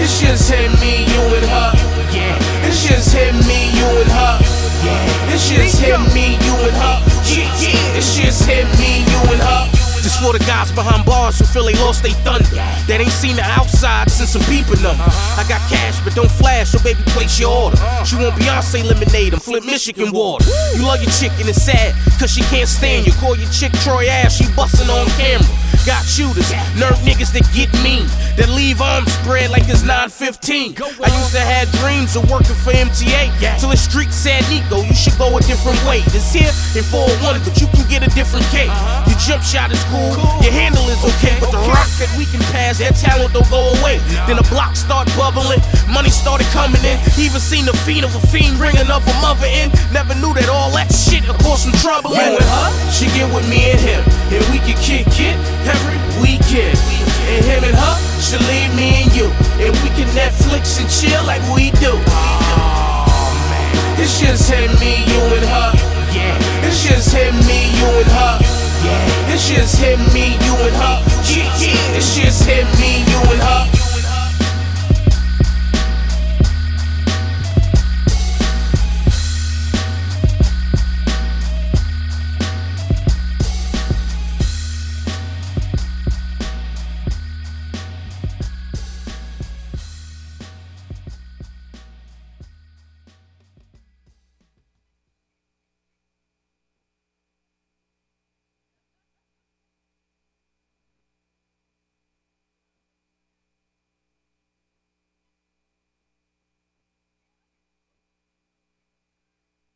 It's just him, me, you, and her. Yeah. It's just him, me, you, and her. Yeah. It's just him, me, you, and her. Yeah, yeah. It's just him, me, you, and her. Just for the guys behind bars who feel they lost they thunder. That ain't seen the outside since I'm beeping them. I got cash, but don't flash, so baby, place your order. She want Beyonce lemonade and flip Michigan water. You love your chick and it's sad, cause she can't stand you. Call your chick Troy ass, she bustin' on camera. Got shooters, nerd niggas that get mean, that leave arms spread like it's 915. I used to have dreams of working for MTA, till the street said, Nico, you should go a different way. This here in 401, but you can get a different cake. Your jump shot is cool, your handle is okay, but the rock that we can pass, that talent don't go away. Then the block start bubbling, money started coming in. Even seen the fiend of a fiend ringing up a mother in. Never knew that all that shit would cause some trouble. You and her, she get with me and him.